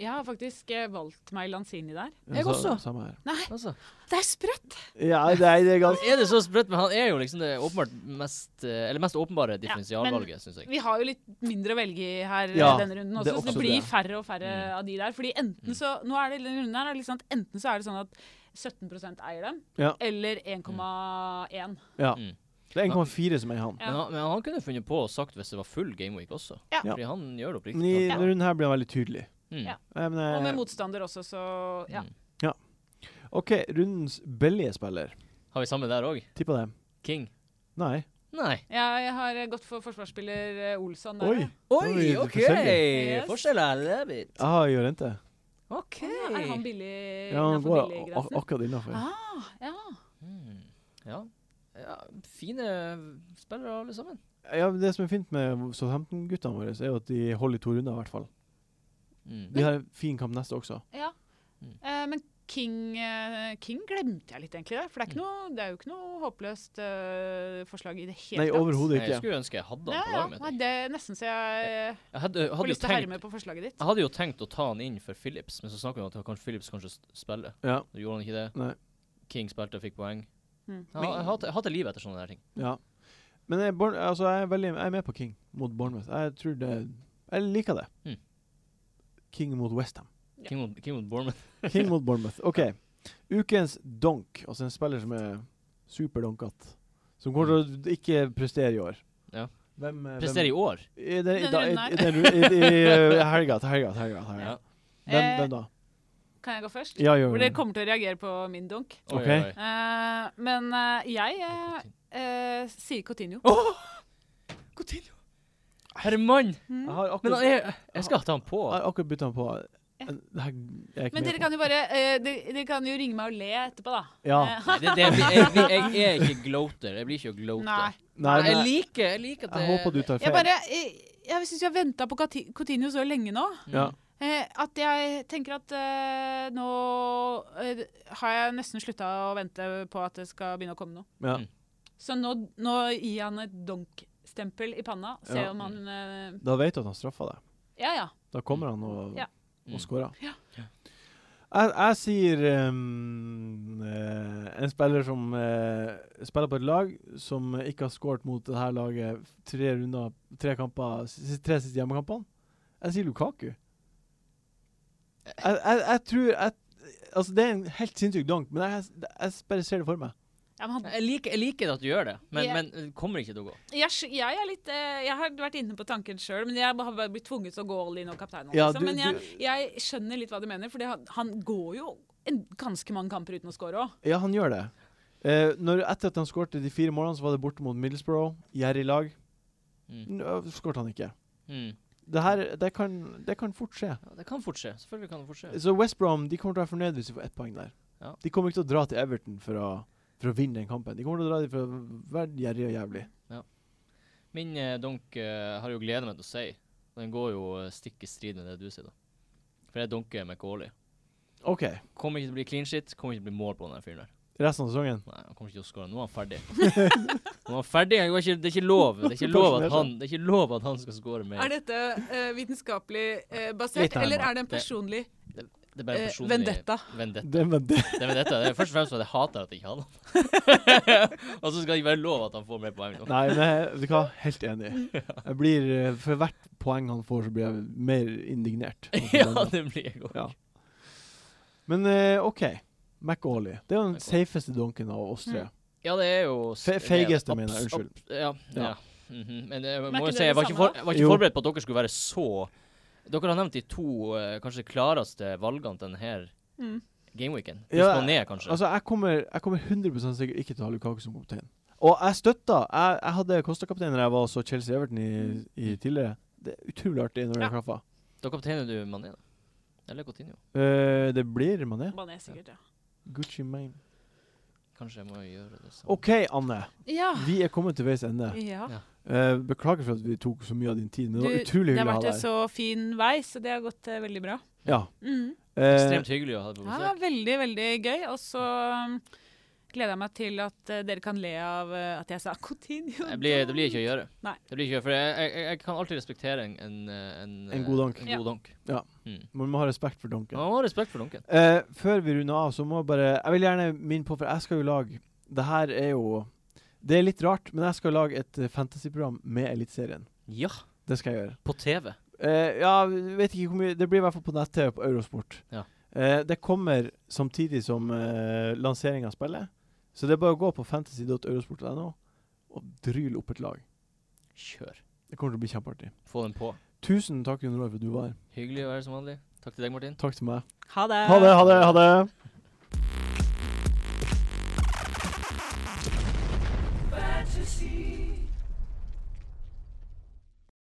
Jeg har faktisk eh, valgt meg Lanzini der. Jeg Sa- også. Samme her. Altså, Det er sprøtt! Ja, det er, det er ganske er det så sprøtt? Men han er jo liksom det åpenbart mest eh, Eller mest åpenbare differensialvalget, synes syns jeg. Vi har jo litt mindre å velge i her eh, Ja, denne runden det også, er så det også blir det. færre og færre Mm. av de der. Fordi enten så Nå er det denne runden her er det litt sånn at enten så er det sånn at 17 eier dem, Ja. eller 1,1. Ja. Mm. Det er 1,4 som er han. Ja. Men, han, men han kunne funnet på å sagt hvis det var full Gameweek også. Ja. Ja. Fordi han gjør det Men i oppriktig. denne runden her blir han veldig tydelig. Mm. Ja. Eh, men, Og eh, med motstander også, så ja. Mm. OK, rundens billige spiller. Har vi samme der òg? Tippa det. King? Nei. Nei. Jeg har eh, gått for forsvarsspiller eh, Olsson. der, Oi! ja. Oi, det er forskjellig. Yes. Forskjeller. Love it. Jeg har jo rente. OK. Er han billig Ja, han innenfor går ak- billiggrensen? akkurat innafor. Ah, ja. Mm. Ja. ja. Fine spillere, alle sammen. Ja, men det som er fint med Southampton-guttene våre, er jo at de holder i to runder, i hvert fall. Mm. De har en fin kamp neste også. ja. Mm. Eh, men King, eh, King glemte jeg litt, egentlig. Der. Mm. For det er, ikke noe, det er jo ikke noe håpløst eh, forslag i det hele Nei, overhodet Nei, Jeg ikke. skulle ønske jeg hadde Ja, han på ja. laget Nei, mitt. det er nesten så jeg eh, Jeg hadde, jeg får hadde, jo lyst til å herme tenkt, på forslaget ditt. jeg hadde jo tenkt å ta han inn for Phillips, men så snakka vi om at kanskje Phillips kanskje s- spiller. Ja, Så gjorde han ikke det. Nei. King spilte og fikk poeng. Mm. Ja, jeg hater- jeg hater livet etter sånne der ting. ja. Men jeg, er Bourne- altså, jeg, er veldig, jeg er med på King mot Bournemouth. Jeg tror det Jeg liker det. Mm. King mot Westham. Ja. King mot, King mot Bournemouth. King mot Bournemouth. OK. Ukens donk, altså en spiller som er superdonkete. Som kommer til å ikke prestere i år. Ja. Hvem, eh, hvem- Presterer i år. I den- i Denne da- i- runden her. i den ru- i- i, eh, helga til helga til helga. til helga. Ja. Hvem, Eh, hvem da? Kan jeg gå først? Ja, gjør For dere det. kommer til å reagere på min dunk. Oi, Ok. oi, oi. Eh, men eh, jeg eh, eh, sier Coutinho. Coutinho. Herre mann! Mm. Jeg har Men akkurat han er Jeg skal ta han på. Jeg har akkurat bytta den på. Ja. Det her er ikke Men med dere på. kan jo bare eh, dere, dere kan jo ringe meg og le etterpå, da. Ja. Eh, Nei, det, det, jeg, blir- jeg, blir- jeg er ikke gloater. Jeg blir ikke gloater. Nei. Nei, Jeg men jeg, liker, jeg liker at jeg håper du tar Jeg feil. bare Jeg, jeg syns vi har venta på Cati- Coutinho så lenge nå Mm. Ja. eh, at jeg tenker at eh, nå eh, har jeg nesten slutta å vente på at det skal begynne å komme noe. Ja. Mm. Så nå, nå gir han et donk-stempel i panna. Se Ja. om han eh, Da vet du at han straffer deg. Ja ja. Da kommer han og, Ja. Mm. og scorer. Ja. Ja. Jeg, jeg sier ehm, eh, en spiller som eh, spiller på et lag som ikke har skåret mot det her laget tre runder, tre kamper, s- tre siste hjemmekampene. Jeg sier Lukaku. Jeg, jeg, jeg tror jeg, Altså, det er en helt sinnssyk donk, men jeg, jeg bare ser det for meg. ja men han, Jeg liker, jeg liker at du gjør det, men, Ja. men det kommer ikke til å gå. jeg, skj- jeg er litt eh, Jeg har vært inne på tanken sjøl, men jeg har bare blitt tvunget til å gå all in og kaptein. Ja, liksom. du- Men jeg, du- jeg skjønner litt hva du mener, for det, han- han går jo en, ganske mange kamper uten å score òg. Ja, han gjør det. Eh, når, etter at han skårte de fire målene, så var det borte mot Middlesbrough, gjerrig lag. Mm. Nå skårte han ikke. Mm. Det her det kan, det kan fort skje. Ja, det kan fort skje. Selvfølgelig kan det fort skje. Så West Brom de kommer til å være fornøyd hvis de får ett poeng der. Ja. De kommer ikke til å dra til Everton for å, for å vinne den kampen. De kommer til å dra dit for å være gjerrig og jævlig. Min eh, donk eh, har jo gleda meg til å si. Den går jo eh, stikk i strid med det du sier, da. For jeg donker McAuley. OK. Kommer ikke til å bli clean shit, kommer ikke til å bli mål på den der fyren der. Resten av sesongen Nei, han kommer ikke til å score. Nå er han ferdig. Nå er han ferdig. Det er ikke, det er ikke lov. Det er ikke lov at han, det er ikke lov at han skal score mer. Er dette eh, vitenskapelig eh, Litt basert, nærmere. eller er det en Det- personlig Det er bare eh, personlig vendetta? vendetta. det, men det, Det er vendetta. Det er først og fremst fordi jeg hater at jeg ikke har han. og så skal jeg være lov at han får mer poeng nå. Nei, men jeg, vet du hva? Helt enig. Jeg blir, eh, for hvert poeng han får, så blir jeg mer indignert. ja, det blir jeg òg. Ja. Men eh, OK. McAuley. Det er jo den McAuley. safeste donken av oss tre. Ja, det er jo Fe feigeste, mener jeg. Unnskyld. Abs- Ja. Ja. ja. Mhm. Men jeg ikke må jo det si, jeg det var ikke, samme, for, da? jeg var ikke Jo. forberedt på at dere skulle være så Dere har nevnt de to eh, kanskje klareste valgene til denne her Mm. gameweeken. Ja, Pluss mané, kanskje. Altså, jeg kommer, jeg kommer 100 sikkert ikke til å ha Lukaku som kaptein. Og jeg støtta Jeg, jeg hadde Kosta-kaptein da jeg var så Chelsea Everton i, i tidligere. Det er utrolig artig når det Ja. ja. klaffer. da kapteiner du mané, da. Eller Coutinho. Eh, det blir Mané. Mané sikkert, ja. Gucci Mane. Kanskje jeg må gjøre det samme. OK, Anne. Ja. Vi er kommet til veis ende. ja. Eh, beklager for at vi tok så mye av din tid, men det var Du, utrolig Det hyggelig har å ha vært en deg her. så fin vei, så det har gått eh, veldig bra. Ja. Mhm. Eh, Ekstremt hyggelig å ha deg på Ja, besøk. veldig, veldig gøy. Og så um, gleder jeg meg til at eh, dere kan le av eh, at jeg sa Coutinho. Det blir, det blir ikke å gjøre. Nei. Det blir ikke å gjøre, For jeg, jeg, jeg kan alltid respektere en En, en, En god donk. En Ja. god donk. Ja. Mm. Eh, man må ha respekt for Duncan. Man må ha respekt for donken. Eh, før vi runder av, så må jeg bare Jeg vil gjerne minne på, for jeg skal jo lage Det her er jo Det er litt rart, men jeg skal lage et eh, fantasyprogram med Eliteserien. Ja, Det skal jeg gjøre. på TV. Eh, ja, vi vet ikke hvor mye Det blir i hvert fall på nett-TV på Eurosport. Ja. Eh, det kommer samtidig som uh, lanseringa av spillet. Så det er bare å gå på fantasy.eurosport.no og dryle opp et lag. Kjør. Det kommer til å bli kjempeartig. Få den på. Tusen takk, Jon Roar, for at du var her. Hyggelig å være som vanlig. Takk til deg, Martin. Takk til meg. Ha det. Ha det, ha det, ha det. fantasy.